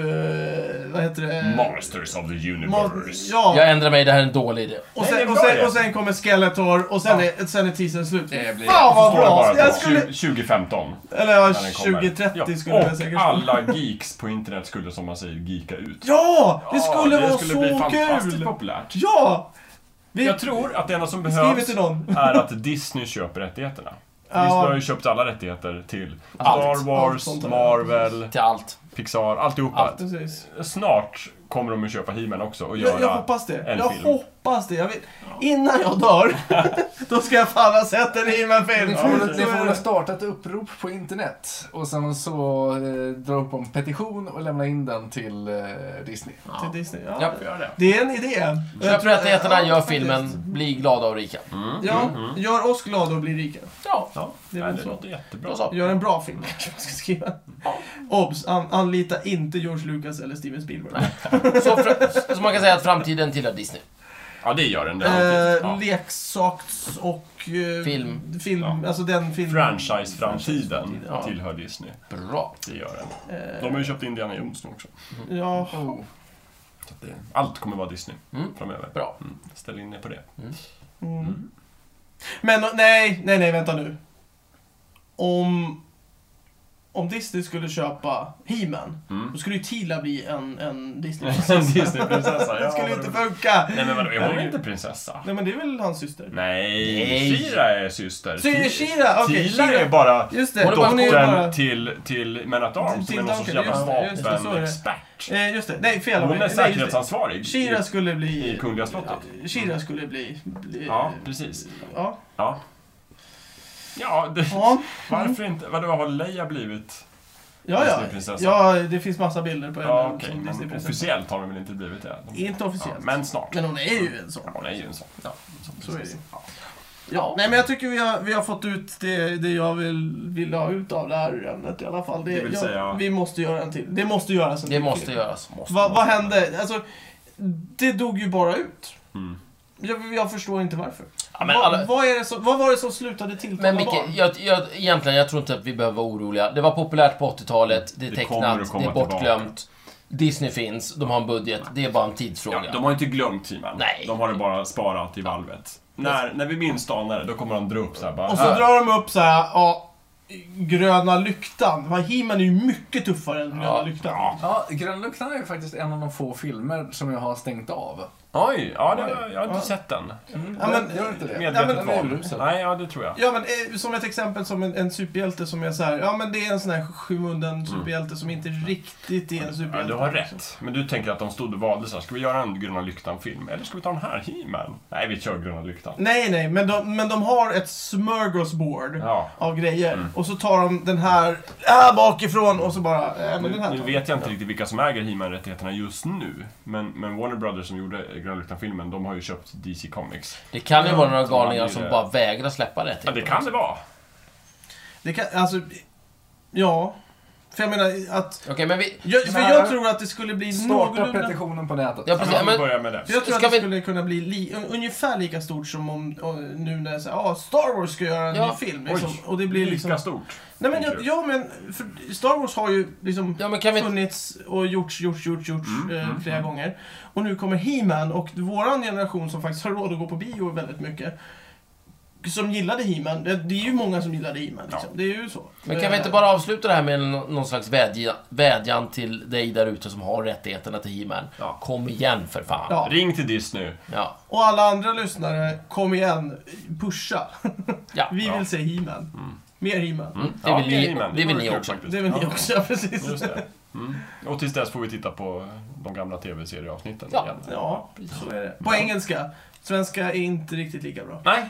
A: vad heter det?
C: Masters of the
A: Ma-
C: Universe.
A: ja,
B: Jag ändrar mig, det här är en dålig idé.
A: och
C: Nej, det
A: sen,
C: är bra
A: och sen,
C: det.
A: och sen kommer Skeletor och sen är, sen är teasern slut.
D: Det blir-
A: Fan vad bra! Jag
C: skulle...
A: skulle,
C: 2015.
A: eller ja,
C: när den kommer.
A: 2030
C: Ja,
A: skulle jag
C: Och
A: säkert
C: alla geeks på internet skulle, som man säger, geeka ut.
A: Ja! Det skulle
C: Ja,
A: vara
C: Det skulle
A: så
C: bli fantastiskt
A: kul!
C: populärt.
A: Ja! Vi
C: Jag tror att det enda som
A: skriver
C: behövs
A: till någon.
C: är att Disney köper rättigheterna.
A: Ja.
C: Disney har ju köpt alla rättigheter till
B: Allt.
C: Star Wars,
A: Allt sånt där.
C: Marvel,
B: Till allt.
C: Pixar, alltihopa.
B: Allt.
A: Precis.
C: Snart kommer de att köpa He-Man också och göra
A: Jag, jag hoppas det.
C: en
A: Jag
C: film.
A: hoppas det. Jag vill, innan jag
C: [laughs]
A: dör, då ska jag fan ha sett en
D: Ni
A: He-Man-film.
D: får, väl- ni
A: Då är
D: får väl
A: det-
D: starta ett upprop på internet och sen så eh, dra upp en petition och lämna in den till eh, Disney.
A: till Disney. Ja.
B: Japp.
C: Gör det.
A: Det är en idé.
B: Köp rättigheterna,
A: ja,
B: gör
A: faktiskt.
B: filmen, bli glada och rika.
C: Mm.
A: Ja, gör oss glada och bli rika.
B: Ja,
C: Ja,
A: Det är
C: nej,
A: väl
C: det
A: så.
C: låter jättebra.
B: då så.
A: Gör en bra film [laughs] kanske man ska skriva. Obs! An, anlita inte George Lucas eller Steven Spielberg.
B: Så, fr- så man kan säga att framtiden tillhör Disney.
C: Ja, det gör den
A: Eh,
C: definitivt. Ja.
A: Leksaks och och... eh,
B: Film.
A: film
C: Ja.
A: Alltså den filmen.
C: Franchise-framtiden
B: Ja.
C: tillhör Disney.
B: Bra.
C: Det gör den.
A: Eh,
C: De har ju köpt Indiana Jones nu också.
A: ja.
D: Oh.
C: Så att det, allt kommer vara Disney
B: Mm.
C: framöver.
B: Bra.
C: Mm. Ställ in er på
A: [laughs]
C: det.
A: Mm. Men och- nej, nej, nej, vänta nu. Om... Om Disney skulle köpa He-Man,
C: Mm.
A: då skulle ju Tila bli en, en disney
C: En
A: [laughs]
C: Disney-prinsessa.
A: Det
C: [laughs] Ja,
A: skulle ju
C: vadå?
A: inte funka!
C: Nej men vadå, är hon
A: Herregud.
C: inte prinsessa?
A: Nej men det är väl hans syster?
C: Nej,
B: Nej.
C: Shira är syster.
A: Syra, Shira! Okej,
C: Tila
A: Shira.
C: är bara
A: Just det,
B: Hon är bara
A: hon är ju bara...
C: dottern till, till Man at Arms som
A: Till
C: är någon sorts
A: Duncan,
C: jävla
A: just det, just det, så är det.
C: vapenexpert.
A: Eh, just det, nej fel.
C: Hon är
A: Nej, just det.
C: säkerhetsansvarig
A: Shira
C: i,
A: skulle
C: i
A: bli...
C: Kungliga slottet.
A: Shira skulle bli... bli
C: Ja, precis.
A: ja.
C: Ja. Ja, det,
A: Ja,
C: varför inte? Vadå, har Leia blivit
A: ja, ja.
C: Disneyprinsessa?
A: ja, det finns massa bilder på henne
C: Ja, okej.
A: som
C: men
A: Disneyprinsessa.
C: officiellt har de väl inte blivit det? De,
A: Inte
C: ja,
A: officiellt. men...
C: men snart.
A: hon är ju en sån.
C: Ja, hon är ju en sån.
A: Ja,
C: sån
A: så är det ju.
C: prinsessa. Ja.
A: Ja, nej men jag tycker vi har, vi har fått ut det, det jag vill, vill ha ut av det här ämnet i alla fall. Det,
C: Det vill
A: jag,
C: säga-
A: Vi måste göra en till. Det måste göras en
B: Det
A: till
B: måste
A: film.
B: göras. Måste,
A: Va,
B: måste.
A: vad hände? Alltså, det dog ju bara ut.
C: Mm.
A: Jag, jag förstår inte varför.
B: Ja, men
A: vad,
B: alla-
A: vad, är det som, vad var det som slutade tilltala
B: Men Micke,
A: barn?
B: jag, jag, egentligen, jag tror inte att vi behöver vara oroliga. Det var populärt på 80-talet, det är
C: Det kommer att
B: tecknat,
C: komma
B: det är bortglömt. Disney finns, de har en budget, det är bara en tidsfråga.
C: Ja, de har inte glömt He-Man.
B: Nej.
C: De har det bara sparat i valvet. När, när vi minst anar det, då kommer han dra upp så här bara... "Äh,
A: Och så drar de upp så här, ja, gröna lyktan. Vad, He-Man är ju mycket tuffare än gröna
B: Ja.
A: lyktan.
D: Ja, Grön Luktan är ju faktiskt en av de få filmer som jag har stängt av.
C: Oj, ja, det, jag har inte
A: Ja.
C: sett den.
A: Ja, men-
D: Mm. gör inte det.
C: Medvetet
A: men-
D: det är
C: val.
D: ruset.
C: Nej, ja, det tror jag.
A: Ja men eh, som ett exempel som en, en superhjälte som är så här, ja men det är en sån här skymunden superhjälte som inte riktigt är en
C: Mm. Ja,
A: superhjälte.
C: du har rätt. Men du tänker att de stod och valde så här, ska vi göra en Gröna Lyktan-film? Eller ska vi ta den här, He-Man? Nej, vi kör Gröna Lyktan.
A: Nej, nej, men de, men de har ett smörgåsbord
C: Ja. Mm.
A: av grejer. Och så tar de den här, här bakifrån och så bara, äh, men den här
C: Nu
A: tar vi.
C: vet jag inte riktigt vilka som äger He-Man-rättigheterna just nu. Men, men Warner Brothers som gjorde eh, Gröna Lyktan-filmen, de har ju köpt DC Comics.
B: Det kan ju
A: Ja,
B: vara några
C: de hade
B: galningar
C: ju
B: som
C: det.
B: bara vägrar släppa rätt.
C: Ja, det kan det vara.
A: Det kan, alltså, ja. För jag menar att,
B: Okej, men vi...
A: jag, för
D: Men-
A: jag tror att det skulle bli
D: Starta
A: någorlunda... För
D: petitionen på nätet.
B: Ja,
C: Ja,
B: precis.
C: men vi
B: men-
C: börjar med det.
A: jag tror att
B: Ska
A: det
B: vi-
A: skulle kunna bli li, un- ungefär lika stort som om, och nu när så här, ah, Star Wars ska göra en
B: Ja.
A: ny film.
C: Oj,
A: Liksom, och det blir liksom...
C: Lika stort.
A: Nej men,
C: tänker
A: jag,
C: du.
A: ja men, för Star Wars har ju liksom...
B: Ja, men kan vi...
A: funnits och gjorts, gjorts, gjorts, gjorts
C: Mm,
A: eh,
C: mm,
A: flera gånger. Och nu kommer He-Man och våran generation som faktiskt har råd att gå på bio väldigt mycket. Som gillade He-Man. Det, det är ju många som gillade He-Man liksom. Det är ju så.
B: Men kan
A: Eh,
B: vi inte bara avsluta det här med nå- någon slags vädja, vädjan till dig där ute som har rättigheterna till He-Man.
C: Ja.
B: Kom igen för fan.
A: Ja.
C: Ring till Disney.
B: Ja.
A: Och alla andra lyssnare, kom igen.
C: [laughs]
A: Pusha.
B: Ja.
A: Vi
C: Ja.
A: vill se He-Man. Mer He-Man.
B: Mm, det
C: Ja,
B: vill ni,
C: He-Man.
B: det vill
C: vore
B: ni
C: kul
B: också.
C: faktiskt.
A: Det är väl ni
C: Ja.
A: också, [laughs] ja, precis.
C: Just det. Mm. Och tills dess får vi titta på de gamla tv-serieavsnitten
B: Ja.
C: igen.
A: Ja, så är det. På engelska. Svenska är inte riktigt lika bra.
C: Nej.